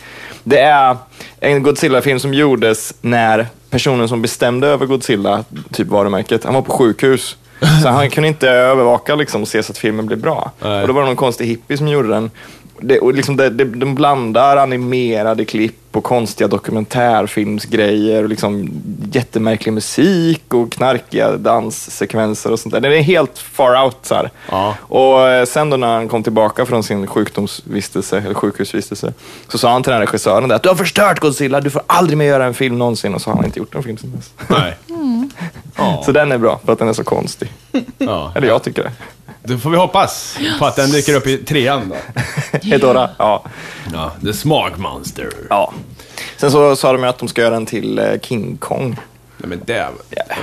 Det är en Godzilla-film som gjordes när personen som bestämde över Godzilla, typ varumärket, han var på sjukhus. Så han kunde inte övervaka liksom, och se så att filmen blev bra. Nej. Och då var det någon konstig hippie som gjorde den. Det, och liksom det, det, de blandar animerade klipp och konstiga dokumentärfilmsgrejer och liksom jättemärklig musik och knarkiga danssekvenser och sånt där. Den är helt far out. Så här. Ja. Och eh, sen då när han kom tillbaka från sin sjukdomsvistelse, eller sjukhusvistelse, så sa han till den här regissören där att du har förstört Godzilla, du får aldrig mer göra en film någonsin. Och så har han inte gjort en film sen dess. Nej. Ja. [LAUGHS] Så den är bra, för att den är så konstig. Ja. [LAUGHS] Eller jag tycker det. Då får vi hoppas på att den dyker upp i trean [LAUGHS] då. Hedora, ja. Ja, The Smog Monster. ja. Sen så sa de ju att de ska göra en till eh, King Kong. Nej, men det...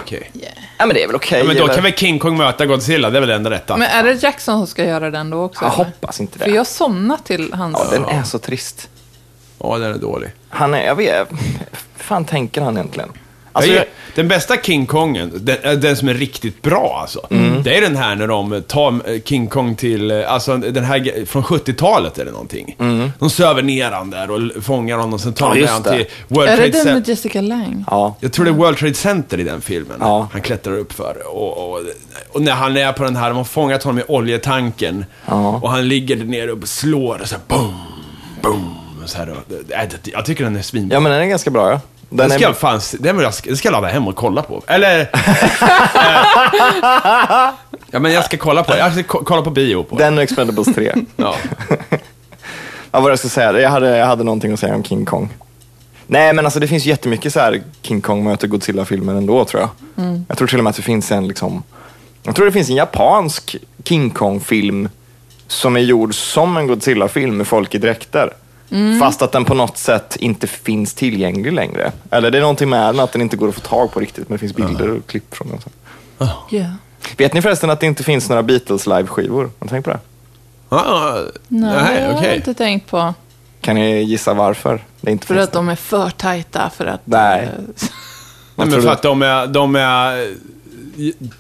Okej. Ja men det är väl okej. Ja, men då eller? kan väl King Kong möta Godzilla, det är väl det enda rätta. Men är det Jackson som ska göra den då också? Jag eller? hoppas inte det. För jag somnade till hans... Ja, den är så trist. Ja, den är dålig. Han är, jag vet, hur fan tänker han egentligen? Alltså, jag, jag, ger- den bästa King Kongen, den, äh, den som är riktigt bra alltså, Mm. det är den här när de tar äh, King Kong till, äh, alltså den här ge- från 70-talet eller någonting. De söver ner han där och l- fångar honom, sen tar Mm. Ja, de ner just han det. till World Är det Trade den med Center. Jessica Lange? ja. Jag tror det är World Trade Center i den filmen. Ja. Han klättrar upp för och, och, och när han är på den här, de har fångat honom i oljetanken. Ja. Och han ligger där nere och slår och så här, boom, boom. Så här, och, äh, jag tycker den är svinbra. ja men den är ganska bra ja. Den Den är- ska, jag fan, se- den vill jag, den ska jag ladda hem och kolla på. Eller... eh, ja, men jag ska kolla på Jag ska ko- kolla på bio på den. Den och Expendables 3. Ja. Ja, vad jag ska säga, jag hade, jag hade någonting att säga om King Kong. Nej, men alltså det finns jättemycket så här King Kong möter Godzilla-filmer ändå tror jag. Mm. Jag tror till och med att det finns en liksom, jag tror det finns en japansk King Kong-film som är gjord som en Godzilla-film med folk i dräkter. Mm. Fast att den på något sätt inte finns tillgänglig längre. Eller det är någonting med den att den inte går att få tag på riktigt, men det finns bilder och klipp från den. och så. Yeah. Vet ni förresten att det inte finns några Beatles live-skivor? Har ni tänkt på det? Ah, Nej, det nej, har jag okej. inte tänkt på. Kan ni gissa varför? Det inte För finns att de är för tajta för att... eh, Nej, Nej. tror men du? för att de är, de är eh,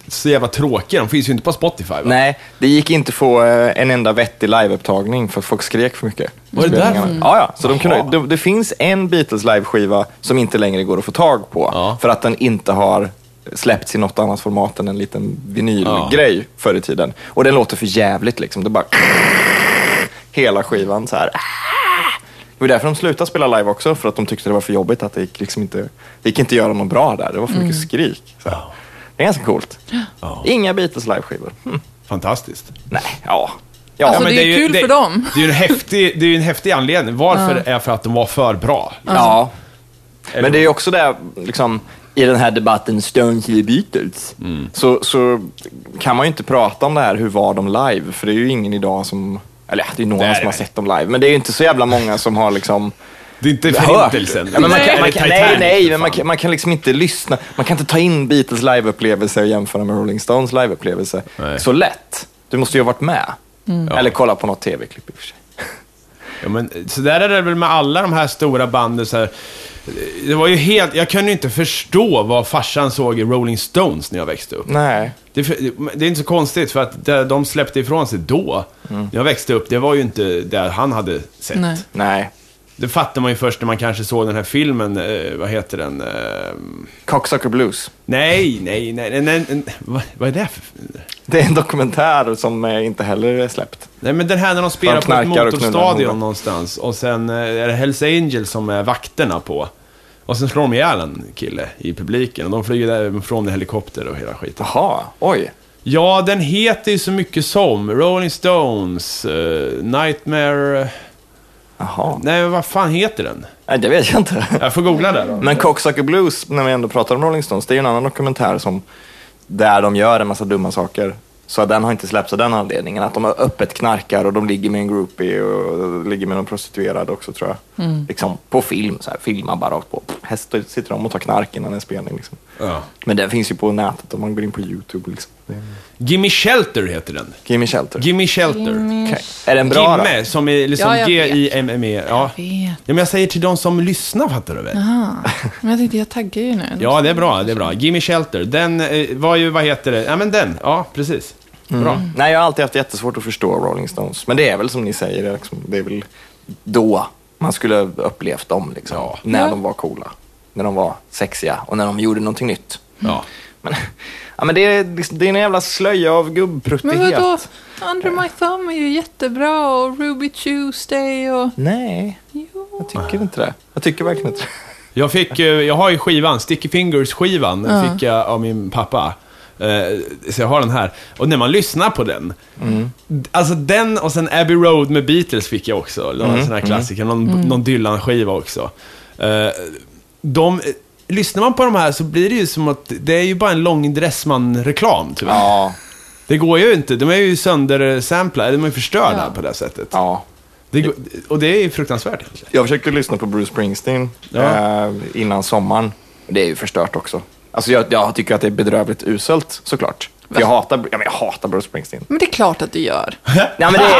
så jävla tråkiga. De finns ju inte på Spotify, va? Nej, det gick inte att få eh, en enda vettig liveupptagning för att folk skrek för mycket. Var det Mm. Spelningarna. därför? Ja, ja. Så de kunde, Jaha. det, det finns en Beatles liveskiva som inte längre går att få tag på Ja. för att den inte har släppts i något annat format än en liten vinylgrej förr i tiden. Och den låter för jävligt liksom. Det bara... Hela skivan så här. Det var därför de slutade spela live också, för att de tyckte det var för jobbigt att det gick liksom inte, det gick inte att göra något bra där. Det var för mycket skrik. Så här. Det är ganska coolt. Mm. Ja. Inga Beatles liveskivor. Hmm. Fantastiskt. Nej, ja. ja Alltså, men, det är ju kul för dem. Det är ju en häftig, det är ju en häftig anledning. Varför är för att de var för bra. ja. Eller- men det är ju också det, liksom, i den här debatten Stones i Beatles, Mm. så, så kan man ju inte prata om det här, hur var de live? För det är ju ingen idag som, eller ja, det är några Nej, som har nej. sett dem live, men det är ju inte så jävla många som har liksom [LAUGHS] Det är inte hört. förintelsen. Ja, men man kan, Eller man kan, nej, Titanic, nej, för men man fan. kan, man kan liksom inte lyssna. Man kan inte ta in Beatles liveupplevelse och jämföra med Rolling Stones liveupplevelse Nej. så lätt. Du måste ju ha varit med. Eller kolla på något tv-klipp i och för sig. Ja, men, så där är det väl med alla de här stora banden. Så här. Det var ju helt, jag kunde ju inte förstå vad farsan såg i Rolling Stones när jag växte upp. Nej. Det, det är inte så konstigt, för att det de släppte ifrån sig då, när jag växte upp, det var ju inte det han hade sett. Nej. Nej. Det fattar man ju först när man kanske såg den här filmen, eh, vad heter den? Eh, Cocksucker Blues. nej, nej, nej, nej, nej, nej. Vad, vad är det för... Det är en dokumentär som eh, inte heller är släppt. Nej, men den här när de spelar De på ett knarkar och knullar motorstadion horan. någonstans och sen eh, är det Hells Angels som är vakterna på. Och sen slår de ihjäl en kille i publiken och de flyger därifrån i helikopter och hela skiten. Jaha, oj. Ja, den heter ju så mycket som Rolling Stones, eh, Nightmare... Jaha. Nej, vad fan heter den? Nej, det vet jag inte. Jag får googla där då. [LAUGHS] Men Cocksucker Blues, när vi ändå pratar om Rolling Stones, det är ju en annan dokumentär som, där de gör en massa dumma saker. Så den har inte släppts av den anledningen. Att de har öppet knarkar och de ligger med en groupie och ligger med någon prostituerad också tror jag. Liksom på film, så här, filmar bara rakt på. Här st- sitter de och tar knark innan en spelning. Liksom. Ja. Men den finns ju på nätet om man går in på YouTube. Liksom. Gimme Shelter heter den. Gimme Shelter. Gimme Shelter. Okej. Är den bra då? Gimme, som är liksom Ja, jag vet. G-I-M-M-E. E, Ja. Jag ja, vet. Ah. men jag säger till de som lyssnar, fattar du väl? Men jag tänkte, jag taggar ju nu. Ja, det är bra. Det är bra. Gimme Shelter. Den eh, var ju, vad heter det? Ja, men den. Ja, precis. Bra. Nej, jag har alltid haft jättesvårt att förstå Rolling Stones. Men det är väl som ni säger, det är liksom, det är väl då man skulle ha upplevt dem. Liksom, Ja. När Ja. de var coola, när de var sexiga och när de gjorde någonting nytt. Ja. Men, [LAUGHS] ja, men det, är, liksom- det är en jävla slöja av gubbpruttighet. Men vadå? Under My Thumb är ju jättebra och Ruby Tuesday och... Nej, jag tycker inte det. Jag tycker verkligen inte det. Jag fick eh, jag har ju skivan, Sticky Fingers-skivan, fick jag av min pappa. Eh, Så jag har den här. Och när man lyssnar på den. d- Alltså den och sen Abbey Road med Beatles fick jag också. Någon sån här klassiker, någon, någon Dylan-skiva också. Eh, De, eh, lyssnar man på de här så blir det ju som att det är ju bara en lång Dressman-reklam tyvärr. Ja, Det går ju inte, de är ju söndersamplade, de är ju förstörda Ja. på det sättet. [LAUGHS] ja. Det, går- och det är ju fruktansvärt egentligen. Jag försökte lyssna på Bruce Springsteen Ja. eh, innan sommaren. Det är ju förstört också. Alltså jag, jag tycker att det är bedrövligt uselt såklart. För Jag hatar, ja, men jag hatar Bruce Springsteen. Men det är klart att du [LAUGHS] gör. Nej, men det är...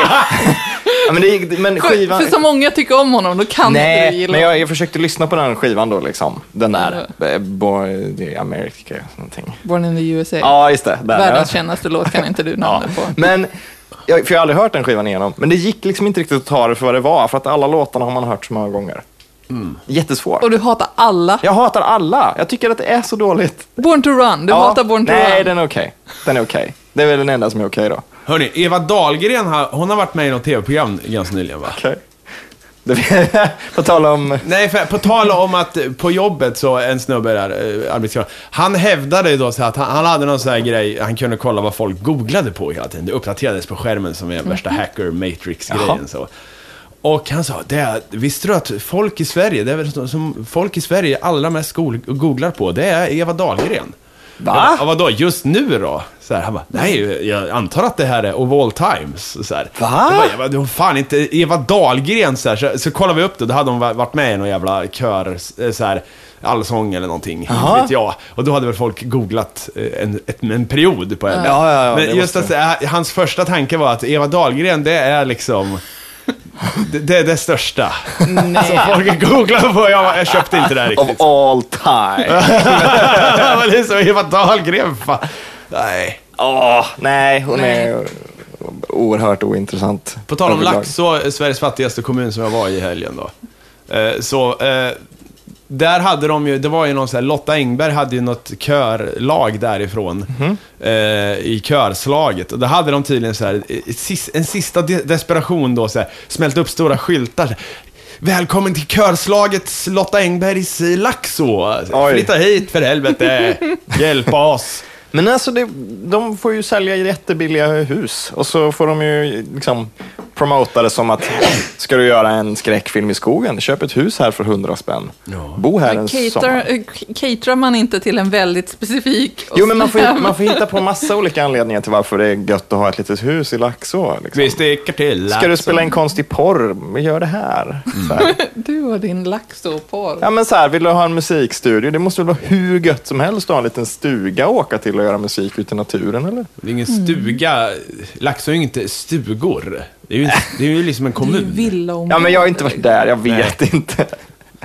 ja, men, det är, men För, skivan... för så många tycker om honom, då kan inte du Nej, gilla men honom. jag, jag försökte lyssna på den skivan då, liksom. Den där, eh, Boy, det är America, någonting. Born in the USA. Ja, just det. Där, Världens [LAUGHS] ja. kändaste låt kan inte du namnet på. Men, jag, för jag har aldrig hört den skivan igenom. Men det gick liksom inte riktigt att ta det för vad det var, för att alla låtarna har man hört så många gånger. Jättesvårt. Och du hatar alla. Jag hatar alla. Jag tycker att det är så dåligt. Born to Run, du Ja. hatar Born to Nej, Run. den är okej. Den är okej. Det är väl den enda som är okej då. Hörni, Eva Dahlgren, har, hon har varit med i något tv-program ganska nyligen va? Okej. Det- [LAUGHS] På tal om... Nej, för, på tal om att eh, på jobbet så en snubbe där, eh, arbetskamrat, han hävdade ju då så att han, han hade någon sån här grej, han kunde kolla vad folk googlade på hela tiden. Det uppdaterades på skärmen som Mm. är värsta hacker matrix-grejen. Så. Och han sa, det är, visste du att folk i Sverige, det är väl som- som folk i Sverige allra mest skol- googlar på, det är Eva Dahlgren. Va? Ja, vadå, just nu då? Så här, han bara, nej, jag antar att det här är of all times. Så här. Jag Va? bara, jag bara, det var fan inte Eva Dahlgren så här. Så, så kollade vi upp det, då hade hon va- varit med i någon jävla kör, eh, så här, allsång eller någonting. Jaha. Vet jag. Och då hade väl folk googlat eh, en, ett, en period på henne. Ja, ja, ja, det Men just måste att säga, hans första tanke var att Eva Dahlgren, det är liksom... Det, det är det största. Alltså, Som folk googlar på. Jag, bara, jag köpte inte det här Of riktigt. all time. [LAUGHS] Men det är så Eva Dahlgren, fan. Nej. Åh, nej, hon är oerhört ointressant. På tal om Överlag. Laxå, Sveriges fattigaste kommun som jag var i helgen då. Eh, Så, eh, där hade de ju, det var ju någon sån här, Lotta Engberg hade ju något körlag därifrån. eh, I körslaget. Och då hade de tydligen så här, eh, sis- en sista de- desperation då så här, smält upp stora skyltar. så här, Välkommen till körslagets Lotta Engbergs i Laxå. Oj. Flytta hit för [LAUGHS] helvete. Hjälp oss. Men alltså, det, de får ju sälja jättebilliga hus och så får de ju liksom promota det som att ska du göra en skräckfilm i skogen, köp ett hus här för 100 spänn. Bo här en Cater, sommar. eh, k- caterar man inte till en väldigt specifik... och Jo, men man får, ju- snäv- man får hitta på massa olika anledningar till varför det är gött att ha ett litet hus i Laxå. Liksom. Vi sticker till Ska du Laxå. spela in konstig porr? Men Gör det här. Så Mm. här. Du och din Laxå-porr. Ja, men så här, vill du ha en musikstudio? Det måste väl vara hur gött som helst att ha en liten stuga att åka till och göra musik ute i naturen, eller? Det är ingen Mm. stuga. Laxå är ju inte stugor. Det är ju, det är ju liksom en [LAUGHS] Det är ju kommun. villaområde. Ja, men jag har inte varit där, jag vet inte.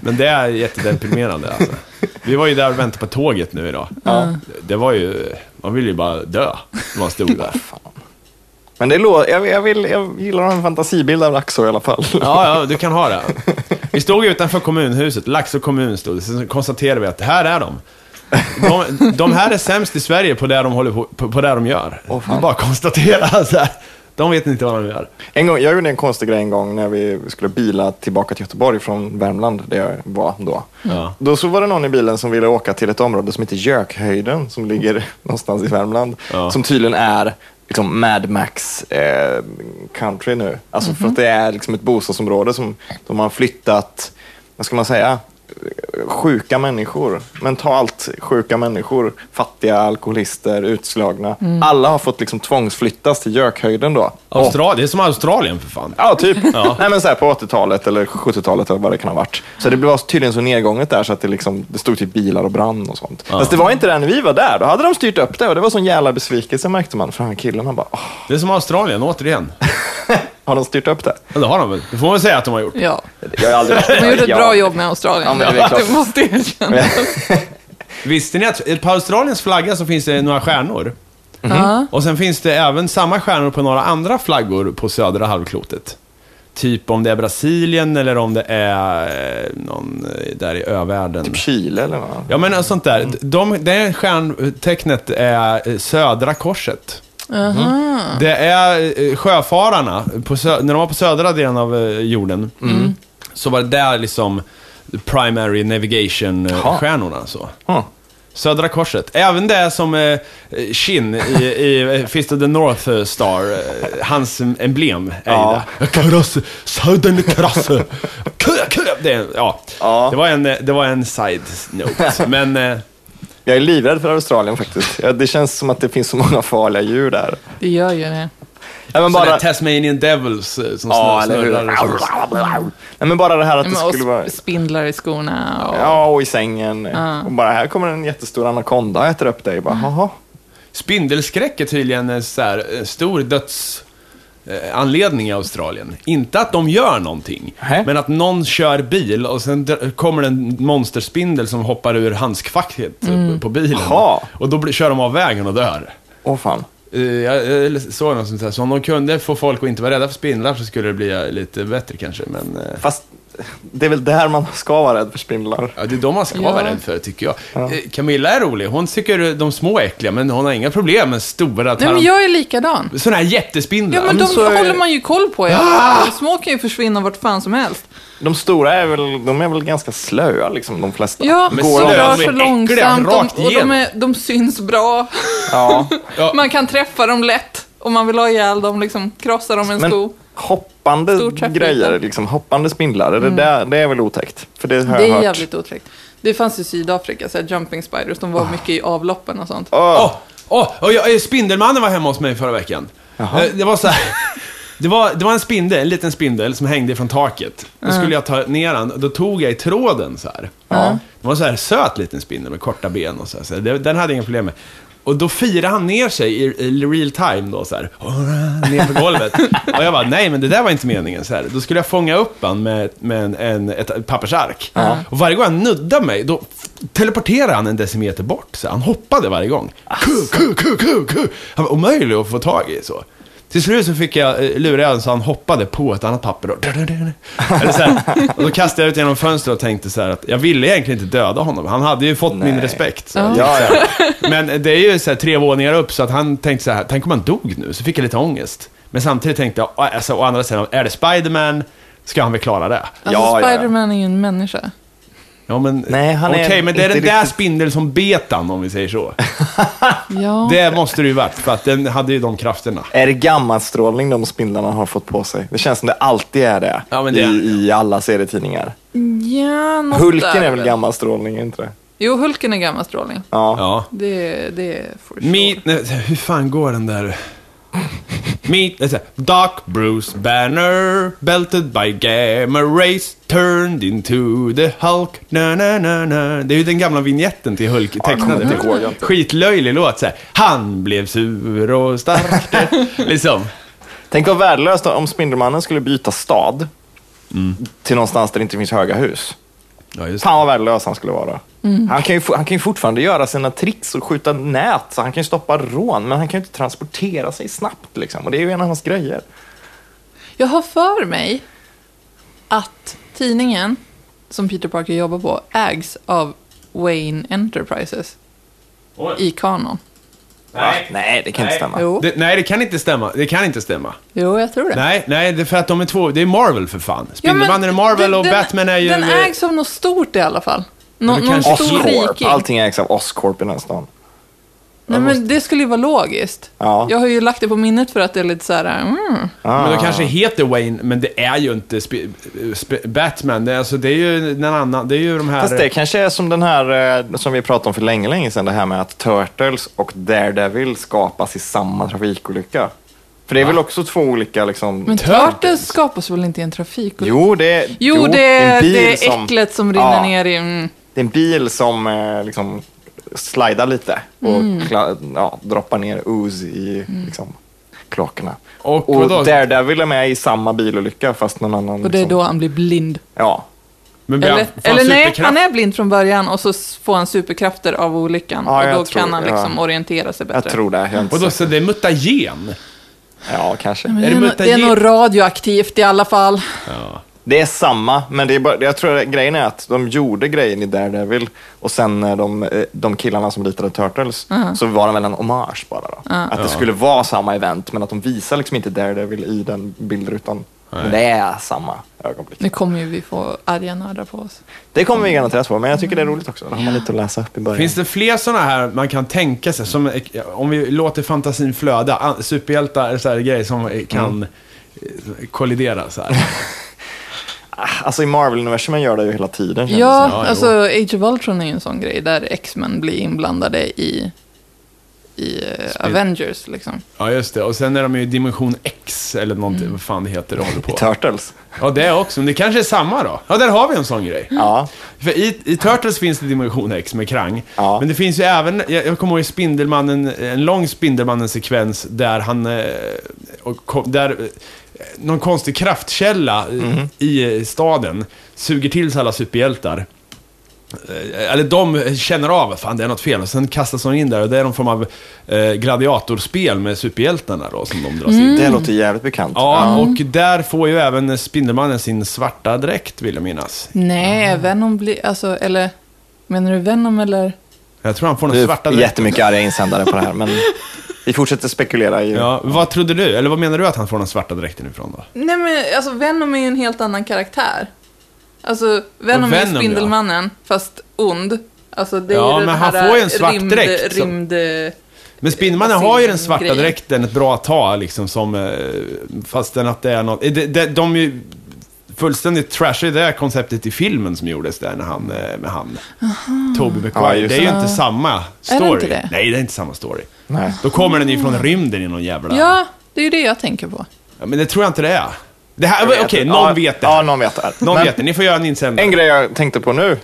Men det är jättedeprimerande alltså. Vi var ju där och väntade på tåget nu idag. Det var ju... Man ville ju bara dö när man stod [LAUGHS] där. Men det lå- jag, jag, vill, jag gillar att ha en fantasibild av Laxå i alla fall. Ja, ja, du kan ha det. Vi stod utanför kommunhuset, Laxå kommun stod det. Sen konstaterade vi att här är de. De, de här är sämst i Sverige på det de, håller på, på, på det de gör. vi bara konstatera så här. De vet inte vad de gör. En gång, jag gjorde en konstig grej en gång när vi skulle bila tillbaka till Göteborg från Värmland, där jag var då. Ja. Då så var det någon i bilen som ville åka till ett område som heter Gökhöjden, som ligger [LAUGHS] någonstans i Värmland, Mm. Ja. som tydligen är liksom Mad Max eh, country nu. Alltså Mhm. för att det är liksom ett bostadsområde som de har flyttat, vad ska man säga, sjuka människor, mentalt sjuka människor, fattiga alkoholister, utslagna. Alla har fått liksom tvångsflyttas till Gökhöjden då. Och- Austral- Mm. det är som Australien för fan. Ja, typ. Nej, men så här, på 80-talet eller 70-talet eller vad det kan ha varit. Så det var tydligen så nedgånget där så att det, liksom, det stod typ bilar och brann och sånt. Fast det var inte det när vi var där. Då hade de styrt upp det och det var sån jävla besvikelse märkte man. För han killen, han bara, "Åh, Det är som Australien, återigen. har de styrt upp det? Ja, det har de väl. Det får man säga att de har gjort. Ja, Jag har aldrig de gjorde ett bra jobb med Australien. Ja, men det är klart. Du måste erkänna. Visste ni att på Australiens flagga så finns det några stjärnor? Och sen finns det även samma stjärnor på några andra flaggor på södra halvklotet. Typ om det är Brasilien eller om det är eh, någon eh, där i övärlden. Typ Chile eller vad? Ja men eh, sånt där. De, det stjärntecknet är eh, södra korset. Mm. Det är eh, sjöfararna, på sö- när de var på södra delen av eh, jorden, så var det där liksom primary Jaha. navigation-stjärnorna. Så. Ja. Södra korset. Även det som eh, Shin i, i eh, Fist of the North Star, eh, hans emblem är Ja. ju det. Kross, Southern Cross. Kö, kö. Det, är- ja. Ja. Det, var en, eh, det var en side [LAUGHS] note. Men eh, Jag är livrädd för Australien faktiskt. Ja, det känns som att det finns så många farliga djur där. Det gör ju det. Ja, men bara... bara... Tasmanian Devils eh, som Ja, snurrar- eller hur? snurrar. och så. Nej, men bara det här att det Men, och skulle vara... sp- spindlar i skorna. Och... Ja, och i sängen. Och bara, här kommer en jättestor anakonda och äter upp dig. Bara, Haha. Spindelskräck är tydligen en så här, eh, stor döds... eh, anledning i Australien. Inte att de gör någonting, Nej. men att någon kör bil och sen dr- kommer det en monsterspindel som hoppar ur handskfacket eh, Mm. på bilen. Jaha. Och då blir, kör de av vägen och dör. Åh fan. Eh, Jag, jag såg något sånt här, så om de kunde få folk att inte vara rädda för spindlar så skulle det bli eh, lite bättre kanske, men... eh, Fast det är väl där man ska vara rädd för spindlar. Ja, det är de man ska Ja. vara rädd för, tycker jag. Eh, Camilla är rolig. Hon tycker de små är äckliga, men hon har inga problem med stora Nej, men tarm... jag är likadan. Sådana här jättespindlar. Ja, men de så är- håller man ju koll på. Ah! Ja. De små kan ju försvinna vart fan som helst. De stora är väl, de är väl ganska slöa, liksom, de flesta. Ja, Men de så är de rör sig äckliga, långsamt rakt de, och de, igenom. är, de syns bra. Ja. Ja. [LAUGHS] Man kan träffa dem lätt om man vill ha ihjäl dem, liksom krossa dem med en Men sko. hoppande Stor trafik. Mm. grejer, liksom, hoppande spindlar, är det, där, det är väl otäckt? För det har Det jag är hört. jävligt otäckt. Det fanns i Sydafrika, så här jumping spiders, de var Ah. mycket i avloppen och sånt. Åh, åh, och jag, eh, Spindelmannen var hemma hos mig förra veckan. Eh, Det var så här. [LAUGHS] Det var, det var en spindel, en liten spindel som hängde från taket. Då skulle jag ta ner den, då tog jag i tråden så här. Det var en så här söt liten spindel med korta ben och så här. Så det, den hade jag inga problem med. Och då firade han ner sig i, i real time då så här. Ner på golvet. Och jag bara, nej men det där var inte meningen. Så här. Då skulle jag fånga upp han med, med en, en, ett pappersark. Och varje gång han nuddade mig, då teleporterade han en decimeter bort. Så här. han hoppade varje gång. Ku, ku, ku, ku, ku. Han var omöjlig att få tag i så. Till slut så fick jag eh, lura honom så han hoppade på ett annat papper. Och, eller så här. och då kastade jag ut genom fönstret och tänkte så här att jag ville egentligen inte döda honom. Han hade ju fått min Nej. respekt. Så. Ja, ja. Men det är ju så här tre våningar upp så att han tänkte så här, tänk om han dog nu, så fick jag lite ångest. Men samtidigt tänkte jag, "Å, alltså, å andra sidan, är det Spiderman, ska han väl klara det? Alltså, Ja, ja, ja. Spiderman är ju en människa. Ja men, Nej, han är okej, men det är inte den där riktigt- spindeln som bet han, om vi säger så. Ja. Det måste det ju varit, för att den hade ju de krafterna. Är det gammalstrålning de spindlarna har fått på sig? Det känns som det alltid är det, Ja, men det- I, i alla serietidningar. ja, något Hulken där är väl gammalstrålning, inte det? Jo, Hulken är gammalstrålning. Ja. Ja. Det, det är for sure. Meet... Nej, hur fan går den där? Meet... nej, så här, Doc Bruce Banner, belted by gamma rays, turned into the Hulk. Na, na, na, na. Det är ju den gamla vignetten till Hulk, kommer tecknade. inte ihåg, jag inte. Skitlöjlig låt så här. Han blev sur och stark. [LAUGHS] liksom. Tänk vad värdelöst om Spindelmannen skulle byta stad till någonstans där det inte finns höga hus. Ja, just det. Fan vad värdelös han skulle vara. Mm. Han, kan ju, fo- han kan ju fortfarande göra sina tricks och skjuta nät, så han kan ju stoppa rån, men han kan ju inte transportera sig snabbt. Liksom. Och det är ju en av hans grejer. Jag har för mig att tidningen som Peter Parker jobbar på ägs av Wayne Enterprises i kanon. Nej. Nej, det kan inte stämma. Jo, Det, nej, det kan inte stämma. Det kan inte stämma. jo jag tror det. Nej, nej, det är för att de är två. Det är Marvel för fan. Ja, men Spindelmannen är Marvel och den- Batman är ju... Den ägs av något stort i alla fall. Nå, Men det någon kanske- stor Oscorp. riking. Allting ägs av Oscorp i den här stan. Nej, men det skulle ju vara logiskt. Ja. Jag har ju lagt det på minnet för att det är lite så här... Mm. Men de Ah. kanske heter Wayne, men det är ju inte sp- sp- Batman. Det är, alltså, det är ju en annan... Det är ju de här... Fast det kanske är som den här eh, som vi pratade om för länge, länge sedan. Det här med att Turtles och Daredevil skapas i samma trafikolycka. För det är väl också två olika liksom... Men Turtles? Turtles skapas väl inte i en trafikolycka? Jo, det är, Jo, det, är är, en bil det är som- äcklet som rinner Ja. ner i... Mm. Det är en bil som eh, liksom slidar lite och Mm. kla- ja, droppar ner ooze i liksom, kloakerna. Och Och, vadå? Daredevil är med i samma bilolycka fast någon annan... Och det är liksom, då han blir blind. Ja. Men blir han- Eller, får han eller nej, superkraft? han är blind från början och så s- får han superkrafter av olyckan. Ja, och jag då tror- kan han ja. liksom orientera sig bättre. Jag tror det. Jag är inte Vadå, säker. så det är mutagen? Ja, kanske. Men det, är det nog- det är mutagen? nog radioaktivt i alla fall. Det är samma, men det är bara, jag tror att grejen är att de gjorde grejen i Daredevil och sen när de, eh, de killarna som ritade Turtles så var det väl en hommage bara. Då. Att det skulle vara samma event, men att de visar liksom inte Daredevil i den bildrutan. Men det är samma ögonblick. Nu kommer ju vi få arga nördar på oss. Det kommer vi garanterat få, men jag tycker det är roligt också. Då har man lite att läsa upp i början. Finns det fler sådana här man kan tänka sig? Som, eh, om vi låter fantasin flöda, an- superhjältar är så här grejer som eh, kan eh, Mm. kollidera så här. Alltså i Marvel-universumen gör det ju hela tiden. känns det Ja, Ja, jo. alltså Age of Ultron är ju en sån grej där X-Men blir inblandade i, i eh, Avengers. Liksom. Ja, just det. Och sen är de ju i dimension X, eller någonting, vad fan det heter det håller som. I på. Turtles. Ja, det också. Men det kanske är samma då? Ja, där har vi en sån grej. Ja. För i, i Turtles finns det dimension X med Krang. Ja. Men det finns ju även, jag, jag kommer ihåg i Spindelmannen, en lång Spindelmannen-sekvens där han, eh, och, kom- där eh, någon konstig Mhm. kraftkälla eh, i eh, staden suger till sig alla superhjältar. Eh, Eller de känner av, fan det är något fel. Och sen kastas de in där och det är någon form av eh, gladiatorspel med superhjältarna då som de dras in i. Det låter jävligt bekant. Ja, och där får ju även Spindelmannen sin svarta dräkt vill jag minnas. Ah. Nej, Venom blir... Alltså, eller... Menar du Venom eller? Jag tror han får Det den svarta är dräkten. jättemycket arga insändare på det här, [LAUGHS] men vi fortsätter spekulera. I... Ja, vad trodde du? Eller vad menar du att han får den svarta dräkten ifrån då? Nej, men alltså Venom är ju en helt annan karaktär. Alltså, Venom, Venom, är ja. Spindelmannen, fast ond. Alltså, det är Ja, ju men den han här får ju en svart rymd, dräkt som- Rymd... Eh, Men Spindelmannen alltså, har ju den svarta Grej. dräkten ett bra tag liksom som... eh, Fastän att det är något... eh, De, de, de är ju fullständigt trashade det här konceptet i filmen som gjordes där när han... eh, Med han... Tobey Ja, Maguire. just det är ju det. Ah. inte samma story. inte det? Nej, det är inte samma story. Nej. Då kommer den ifrån rymden i någon jävla... Ja, det är ju det jag tänker på. Ja, Men det tror jag inte det är. Det här... Okej, någon ja, vet det. Ja, någon vet det. någon Men vet det. Ni får göra en insändare. En grej jag tänkte på nu.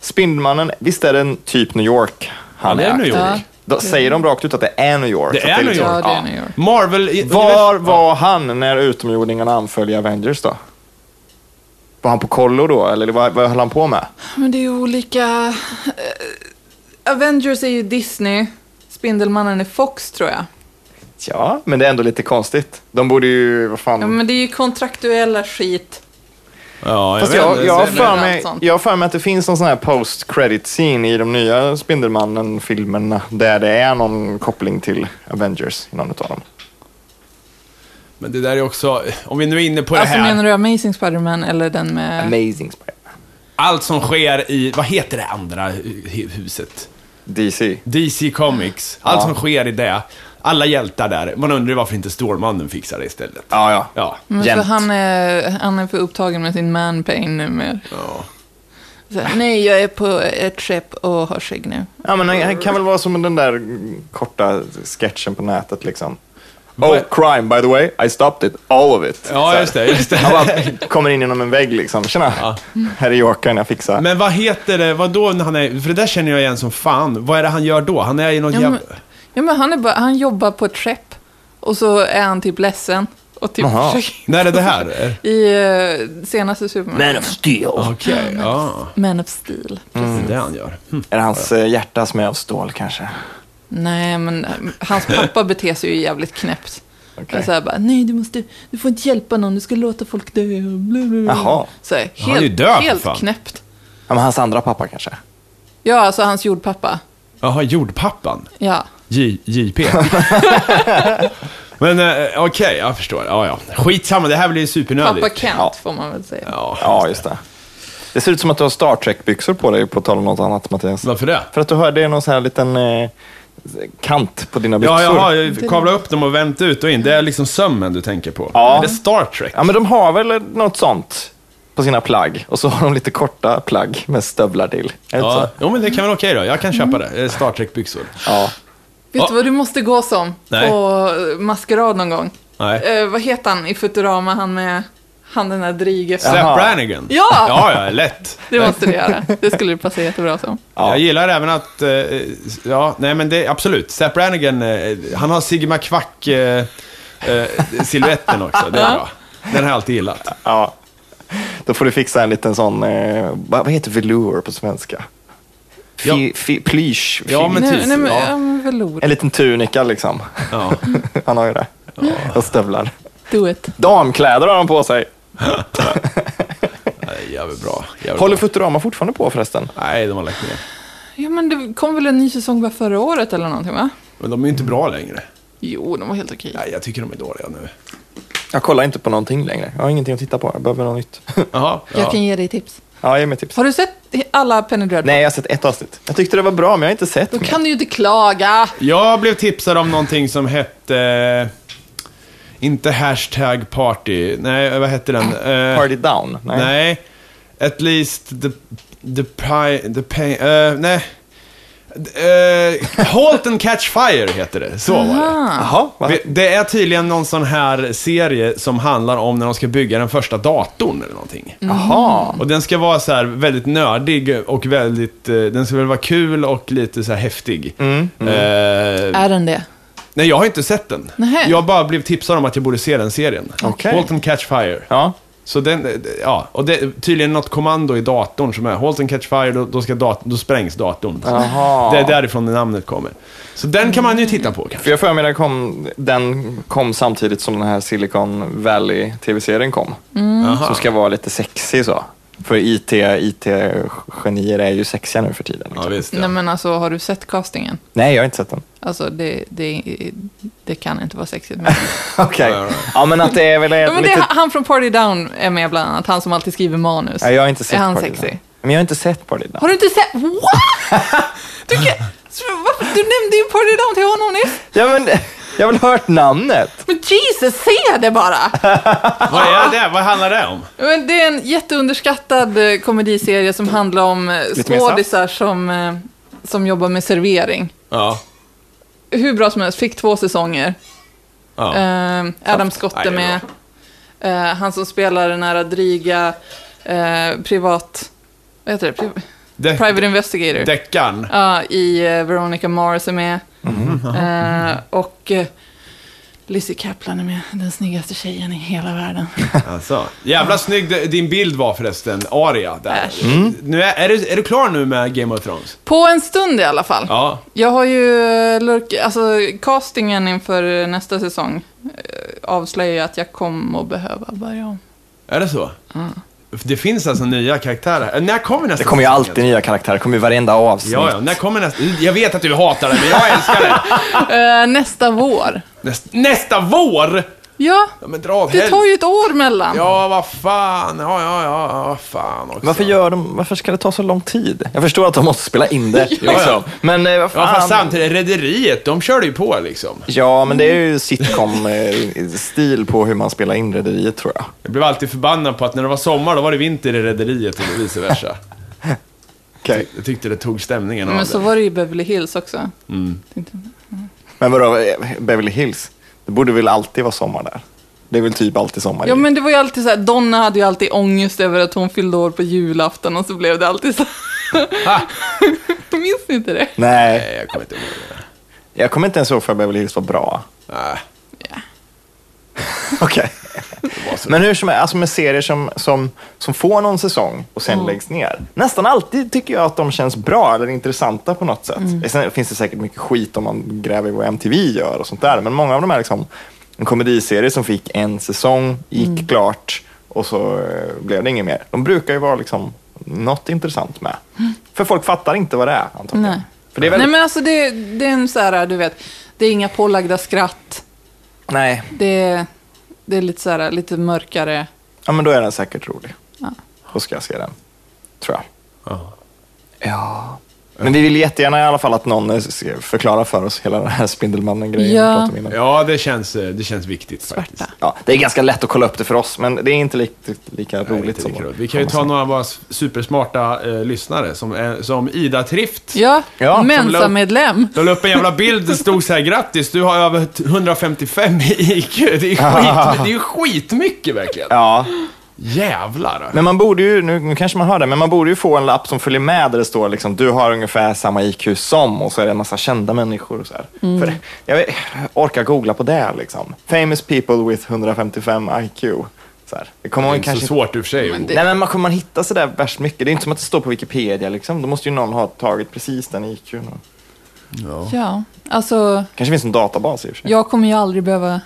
Spindelmannen, visst är det en typ New York han det är är? New York. Ja. Då säger de rakt ut att det är New York. Det Så att är New liksom- Ja, York. det är New York. Marvel... Var var han när utomjordingarna anföll i Avengers då? Var han på kollo då, eller vad, vad höll han på med? Men det är ju olika... eh, Avengers är ju Disney. Spindelmannen är Fox, tror jag. Ja, men det är ändå lite konstigt. De borde ju, vad fan... Ja, men det är ju kontraktuella skit. Ja, jag Fast vet jag, inte. jag, har det- för det- mig, allt sånt. jag har för mig att det finns någon sån här post credit scene i de nya Spindelmannen-filmerna där det är någon koppling till Avengers i någon av dem. Men det där är också... Om vi nu är inne på det Alltså, här. menar du Amazing Spider-Man eller den med... Amazing Spider-Man. Allt som sker i, vad heter det andra hu- huset? DC. DC Comics. Allt Ja. som sker i det. Alla hjältar där. Man undrar ju varför inte Stålmannen fixar det istället. Ja, ja. Ja. Men för Jämt. han är, han är för upptagen med sin man-pain numera. Ja. Så här, Nej, jag är på ett skepp och har skägg nu. ja men han, han kan väl vara som den där mm, korta sketchen på nätet liksom. Oh, Vad- crime by the way, I stopped it, all of it. Så ja, här. just det. Just det. Han [LAUGHS] bara kommer in genom en vägg liksom. Tjena, här är Jokern, jag fixar. Men vad heter det, vad då när han är, för det där känner jag igen som fan. Vad är det han gör då? Han är i någon Ja, jävla... men, ja, men han, är bara, han jobbar på ett skepp och så är han typ ledsen. Och typ Jaha. försöker- När är det här? [LAUGHS] I eh, senaste Superman. Man of Steel. Okej, ja. Man of Steel. Det är det han gör. Hm. Är det hans eh, hjärta som är av stål kanske? Nej, men eh, hans pappa beter sig ju jävligt knäppt. Okej. Så här bara, nej du måste, du får inte hjälpa någon, du ska låta folk dö. Bla, bla, bla. Jaha. Så här, helt, Han är ju död, för helt fan. knäppt. Ja, men hans andra pappa kanske? Ja, alltså hans jordpappa. Jaha, jordpappan. Ja. J, [LAUGHS] JP. Men eh, okej, jag förstår. Ja, ja. Skitsamma, det här blir ju supernödigt. Pappa Kent Ja. får man väl säga. Ja, Ja, just det. Det ser ut som att du har Star Trek-byxor på dig, på tal om något annat Mattias. varför det? För att du har, det är någon sån här liten eh, kant på dina byxor. Ja, jag har kavlat upp dem och vänt ut och in. Det är liksom sömmen du tänker på. Ja. Men det är Star Trek. Ja, men de har väl något sånt på sina plagg. Och så har de lite korta plagg med stövlar till. Är det inte Ja. så? Jo, men Mm. det kan väl okej då. Jag kan köpa det. det. är Star Trek-byxor. Ja. Vet Ja. du vad du måste gå som Nej. på maskerad någon gång? Nej. Eh, vad heter han i Futurama, han med, han den där drige? Seth Jaha. Brannigan. Ja! Ja, ja, lätt. Det måste du göra. Det skulle du passa jättebra som. Ja. Jag gillar även att, eh, ja, nej men det, absolut. Seth Brannigan, eh, han har Sigma Quack eh, eh, silhuetten också. Det är bra. Den har jag alltid gillat. ja. Då får du fixa en liten sån, eh, vad vad heter velour på svenska? Fi, Ja. fi, plysch. Ja, fi- men nej, typ, nej, men, ja. ja. men velour. En liten tunika liksom. Ja. [LAUGHS] Han har ju det. Och stövlar. Do it. Damkläder har han på sig. Nej, Jävligt bra. Jävligt Håller bra. Futurama fortfarande på förresten? Nej, de har lagt ner. Ja, men det kom väl en ny säsong bara förra året eller någonting, va? Men de är ju inte bra längre. Jo, de var helt okej. Nej, jag tycker de är dåliga nu. Jag kollar inte på någonting längre. Jag har ingenting att titta på. Jag behöver något nytt. [LAUGHS] Jaha. Jag Ja. kan ge dig tips. ja, ge mig tips. Har du sett alla Penny Dreadful? Nej, jag har sett ett avsnitt. Jag tyckte det var bra, men jag har inte sett Då mer. kan du ju inte klaga. Jag blev tipsad om någonting som hette... eh, Inte hashtag party. Nej, vad hette den? Eh, Party Down. Nej. Nej. At least the... The pi... The pain... eh, nej. Uh, halt and catch fire heter det. Så var det. Jaha, vad- Vi- Det är tydligen någon sån här serie som handlar om när de ska bygga den första datorn eller någonting. Mm. Jaha. Och den ska vara så här väldigt nördig och väldigt, eh, den ska väl vara kul och lite så här häftig. Mm. Eh, Är den det? nej, jag har inte sett den. Nähä. Jag har bara blivit tipsad om att jag borde se den serien. Okej. Walton Catch Fire. Ja. Så den, ja, och det, tydligen något kommando i datorn som är “Halt and catch fire”, då, då, ska dat- då sprängs datorn. Jaha. Det är därifrån det namnet kommer. Så den kan man ju titta på kanske. För jag för mig den kom, den kom samtidigt som den här Silicon Valley tv-serien kom. Mm. Som ska vara lite sexig så. För IT, IT-genier är ju sexiga nu för tiden. Ja, Liksom. visst, ja. Nej men alltså, har du sett castingen? Nej, jag har inte [LAUGHS] sett den. Alltså det, det, det kan inte vara sexigt. Men... Okej. Ja, ja, Ja, men att det är väl [LAUGHS] Ja, men det, lite... är han från Party Down är med bland annat, han som alltid skriver manus. Ja, jag har inte sett Är han Party sexy? Down. Men jag har inte sett Party Down. Har du inte sett... What? Du, kan... Så varför- du nämnde ju Party Down till honom nyss. Ja, men, jag har väl hört namnet? Men Jesus, se det bara! Vad är det? Vad handlar det om? Men det är en jätteunderskattad eh, komediserie som handlar om eh, mer saft? skådisar som, eh, som jobbar med servering. Ja. Hur bra som helst, fick två säsonger. ja. Eh, Adam Scott Nej, är det är med. Eh, han som spelar den här dryga eh, privat... Vad heter det? Pri- De- Private Investigator. Deckaren. Ja, i eh, Veronica Mars är med. Mhm. Eh, och eh, Lizzie Kaplan är med, den snyggaste tjejen i hela världen. Alltså. Jävla snygg d- din bild var förresten, Aria. Där. Äsch. Nu är, är, du, är du klar nu med Game of Thrones? På en stund i alla fall. Ja. Jag har ju eh, lurk, alltså castingen inför nästa säsong eh, avslöjar att jag kommer att behöva [LAUGHS] börja om. Är det så? Det finns alltså nya karaktärer. Eh, När kommer nästa Det kommer ju säsong? alltid nya karaktärer. Det kommer ju varenda avsnitt. Ja, ja. När kommer nästa? Jag vet att du hatar det, men jag älskar [LAUGHS] det. Eh, nästa vår. Nästa, nästa vår! Ja, Ja, men dra åt det tar helvete. ju ett år mellan. Ja, vad fan. Ja, ja, ja, vad fan också. Varför, gör de, varför ska det ta så lång tid? Jag förstår att de måste spela in det. [LAUGHS] ja. liksom. Men eh, vad fan. Ja, fast samtidigt, Rederiet, de körde ju på liksom. Ja, men det är ju sitcom-stil på hur man spelar in Rederiet tror jag. Jag blev alltid förbannad på att när det var sommar, då var det vinter i Rederiet och vice [LAUGHS] versa. Okay. Jag tyckte det tog stämningen av Men så det. var det ju i Beverly Hills också. Mm. Tänkte- Men vadå, eh, Beverly Hills? Det borde väl alltid vara sommar där? Det är väl typ alltid sommar Ja i- men det var ju alltid så här, Donna hade ju alltid ångest över att hon fyllde år på julafton och så blev det alltid så [LAUGHS] Ha! Minns ni inte det? Nej, Nej, jag kommer inte ihåg det. jag kommer inte ens ihåg för Beverly Hills var bra. Nej. [LAUGHS] Okej. Men hur som helst, alltså med serier som, som, som får någon säsong och sen läggs ner. Nästan alltid tycker jag att de känns bra eller intressanta på något sätt. Sen finns det säkert mycket skit om man gräver i vad MTV gör och sånt där. Men många av de här liksom, en komediserie som fick en säsong, gick klart och så eh, blev det inget mer. De brukar ju vara liksom, något intressant med. För folk fattar inte vad det är antagligen. Nej. För det är Nej väldigt... men alltså det, det är en så här, du vet, det är inga pålagda skratt. Nej. Det, är- det är lite så här, lite mörkare. Ja, men då är den säkert rolig. Ja. Då ska jag se den, tror jag. Ja. Men vi vill jättegärna i alla fall att någon eh, ska förklara för oss hela den här Spindelmannen-grejen Ja. vi pratade om innan. Ja. Ja, det känns, eh, det känns viktigt faktiskt. Svarta. det är ganska lätt att kolla upp det för oss, men det är inte lika, lika Nej, roligt. inte som lika att- roligt. Vi kan ju ta några av våra supersmarta eh, lyssnare, som, eh, som Ida Trift. Ja, Ja, som Mensa-medlem. De la upp en jävla bild, det stod så här grattis, du har över 155 i IQ. Det är skit, [LAUGHS] det är ju skitmycket verkligen. Ja, Jävlar. men man borde ju, nu, nu kanske man hör det, men man borde ju få en lapp som följer med där det står liksom du har ungefär samma IQ som och så är det en massa kända människor och så här. Mm. För jag vet, orkar googla på det liksom. Famous people with 155 IQ. Så här. Det kommer det är man inte kanske så svårt i och för sig. Men det- Nej, men man kommer man hitta sådär värst mycket. Det är inte som att det står på Wikipedia liksom. Då måste ju någon ha tagit precis den IQn. och- Ja, alltså Kanske finns en databas i och för sig. jag kommer ju aldrig behöva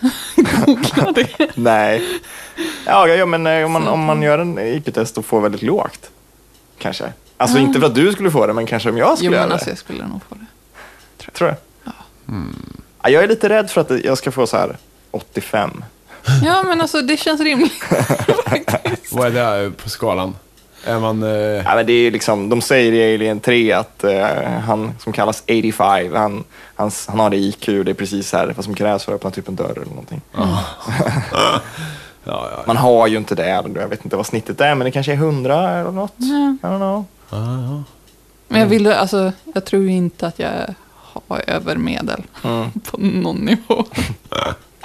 googla det. Nej. Ja, ja, ja men eh, om man, om man gör en IQ-test och får väldigt lågt. Kanske. Alltså inte för att du skulle få det, men kanske om jag skulle Jo göra men det. alltså jag skulle nog få det. Tror jag. Mm. Ja, jag är lite rädd för att jag ska få så här 85. Ja men alltså det känns [LAUGHS] rimligt faktiskt. Vad är det här på skalan? Är man... Eh, Ja, men det är ju liksom, de säger i Alien 3 att eh, han som kallas 85, han, han, han har det IQ, det är precis här vad som krävs för att öppna typ en dörr eller någonting. [LAUGHS] ja, ja. Man har ju inte det, jag vet inte vad snittet är, men det kanske är 100 eller något. Ja. I don't know. Men jag vill, alltså, jag tror ju inte att jag har övermedel Mm. på någon nivå.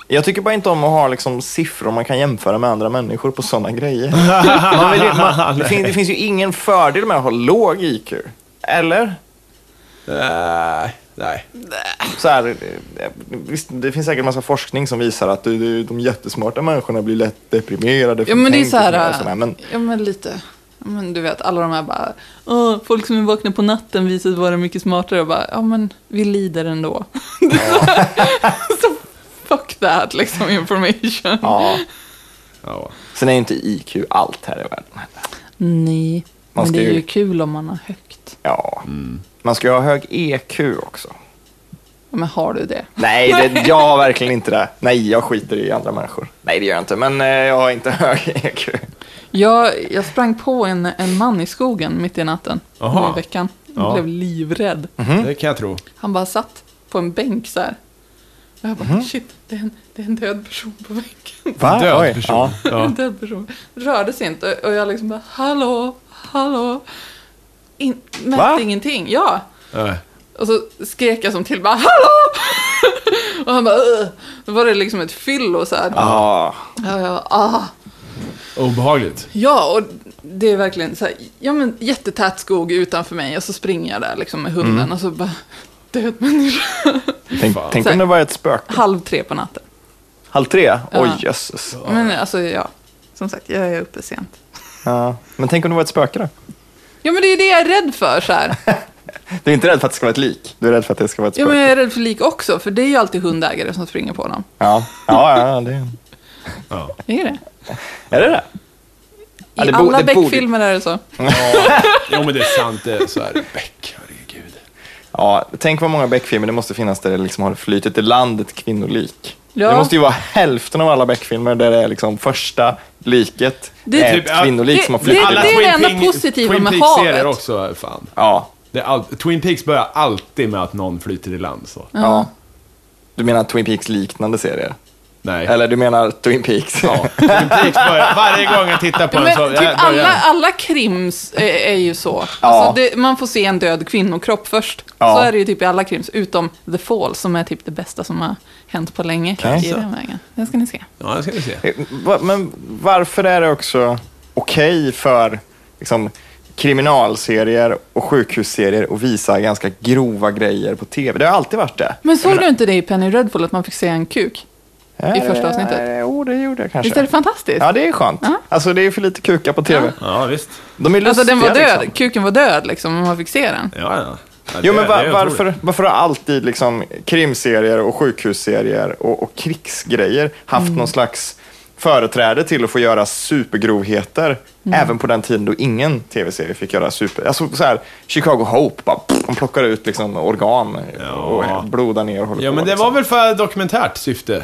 Jag tycker bara inte om att ha liksom, siffror man kan jämföra med andra människor på sådana [LAUGHS] grejer. [LAUGHS] Man vill ju, man, det, finns, det finns ju ingen fördel med att ha låg IQ. Eller? Eh, Nej. Så här, eh, visst, det finns säkert massa forskning som visar att det- det- de jättesmarta människorna blir lätt deprimerade. Ja men det är förtänker så och här, sådär, men ja men lite, ja, men du vet alla de här bara, "Åh, folk som är vakna på natten visar sig vara mycket smartare och bara, ja men vi lider ändå. [LAUGHS] så fuck that liksom information. ja, [LAUGHS] Ja. sen är ju inte IQ allt här i världen. Nej, Man men ska det är ju- ju kul om man har högt. Ja, Mm. man ska ju ha hög EQ också. Ja, Men har du det? [LAUGHS] Nej, det, jag har verkligen inte det. Nej, jag skiter i andra människor. Nej, det gör jag inte, men eh, jag har inte [LAUGHS] hög E EQ. Jag, jag sprang på en, en man i skogen mitt i natten Aha. nu i veckan. Jag Ja. blev livrädd. Mhm. Det kan jag tro. Han bara satt på en bänk så här. Och jag bara, shit, det är, en, det är en död person på bänken. Mhm. Va? Död Oj, person. ja. Ja. [LAUGHS] En död person. Rörde sig inte. Och jag liksom bara, hallå, hallå. In, mätte Va? ingenting. Ja. Nej. Och så skrek jag som till, bara, hallå! [LAUGHS] och han bara, Ugh! Då var det liksom ett fyllo så här. Ja. Ja, jag bara, ah. Obehagligt. Ja, och det är verkligen så här, ja men jättetät skog utanför mig och så springer jag där liksom med hunden Mm. och så bara död människa. [LAUGHS] Tänk, Fan. tänk om det var ett spöke. Halv tre på natten. Halv tre? Oj, Ja. jösses. Men alltså ja, som sagt, jag är uppe sent. Ja. Men tänk om det var ett spöke då? Ja men det är ju det jag är rädd för så här. Du är inte rädd för att det ska vara ett lik? Du är rädd för att det ska vara ett Ja spöke? men jag är rädd för lik också, för det är ju alltid hundägare som springer på dem. Ja, ja, ja, ja det... Är det? är det det? Ja, I det bo- alla det borde- Beck-filmer är det så. Jo men det är sant, det är så [LAUGHS] här. Beck, herregud. Ja, tänk vad många Beck-filmer det måste finnas där det liksom har flytit i land ett kvinnolik. Ja. Det måste ju vara hälften av alla Beck-filmer där det är liksom första liket Det- är Typ, ja, ett kvinnolikt som har det- flyttit i det- land. det- är Twin enda Peaks- positiva Twin med Peaks-serier havet. också, fan. Ja, Det är all... Twin Peaks börjar alltid med att någon flyter i land så. ja. Du menar Twin Peaks-liknande serier? Nej. Eller du menar Twin Peaks? Ja. Twin Peaks börjar, varje gång jag tittar på Ja, den så... men jag typ börjar- alla, alla krims är, är ju så. Ja. Alltså det, man får se en död kvinnokropp först. Ja. Så är det ju typ i alla krims, utom The Fall som är typ det bästa som har hänt på länge Okej. i den vägen. Den ska ni se. Ja, det ska vi se. [LAUGHS] Va- Men varför är det också okej för liksom, kriminalserier och sjukhusserier att visa ganska grova grejer på tv? Det har alltid varit det. Men såg du inte det i Penny Redfall att man fick se en kuk? i första avsnittet? Eh, Jo, det gjorde jag kanske. Visst är det fantastiskt? Ja, det är skönt. Ja. Alltså, det är för lite kuka på tv. Ja, visst. De är lustiga, alltså den var död, Liksom. kuken var död liksom, om man fick se den. Ja, ja. ja det- Jo, men det va- är otroligt. varför, varför har alltid liksom, krimserier och sjukhusserier och, och krigsgrejer haft Mm. någon slags företräde till att få göra supergrovheter Mm. även på den tiden då ingen tv-serie fick göra super... Alltså så här, Chicago Hope, bara, pff, de plockar ut liksom, organ Ja. och blodar ner och håller Ja, på. men det liksom. var väl för dokumentärt syfte?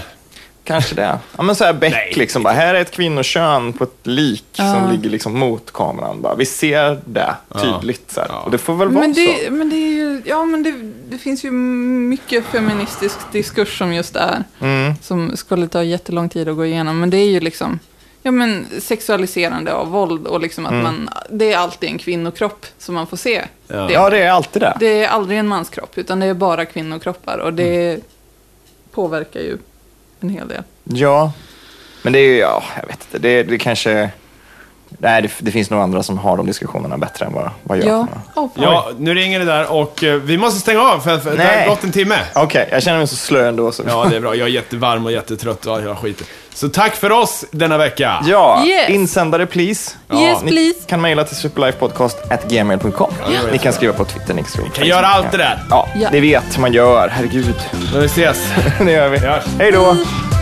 Kanske det. Ja, men så här Beck, Nej. liksom, bara, här är ett kvinnokön på ett lik som ligger liksom mot kameran. Bara, vi ser det tydligt. Så här. Ja. Och det får väl vara Men så. det, men det är ju, ja men det, det finns ju mycket feministisk diskurs som just är. Som skulle ta jättelång tid att gå igenom. Men det är ju liksom, ja men sexualiserande av våld och liksom att man, det är alltid en kvinnokropp som man får se. Ja. Ja, det är alltid det. Det är aldrig en manskropp, utan det är bara kvinnokroppar. Och det påverkar ju en hel del. Ja, men det är ju, ja, jag vet inte. Det, det kanske... Nej, det, det finns nog andra som har de diskussionerna bättre än vad, vad jag Ja, har. oh, Ja, nu ringer det där och eh, vi måste stänga av för, för det har Nej. gått en timme. Okej, jag känner mig så slö ändå. Så. Ja, det är bra. Jag är jättevarm och jättetrött och hela skiten. Så tack för oss denna vecka. Ja, Yes. insändare please. Yes, Ni please. kan mejla till superlifepodcast.gmail.com. var Ni kan skriva på Twitter, ni kan skriva på Kan göra allt det där. Ja, Ja. det vet man gör. Herregud. Men vi ses. det gör vi. Vi hörs. Hej då. Hej.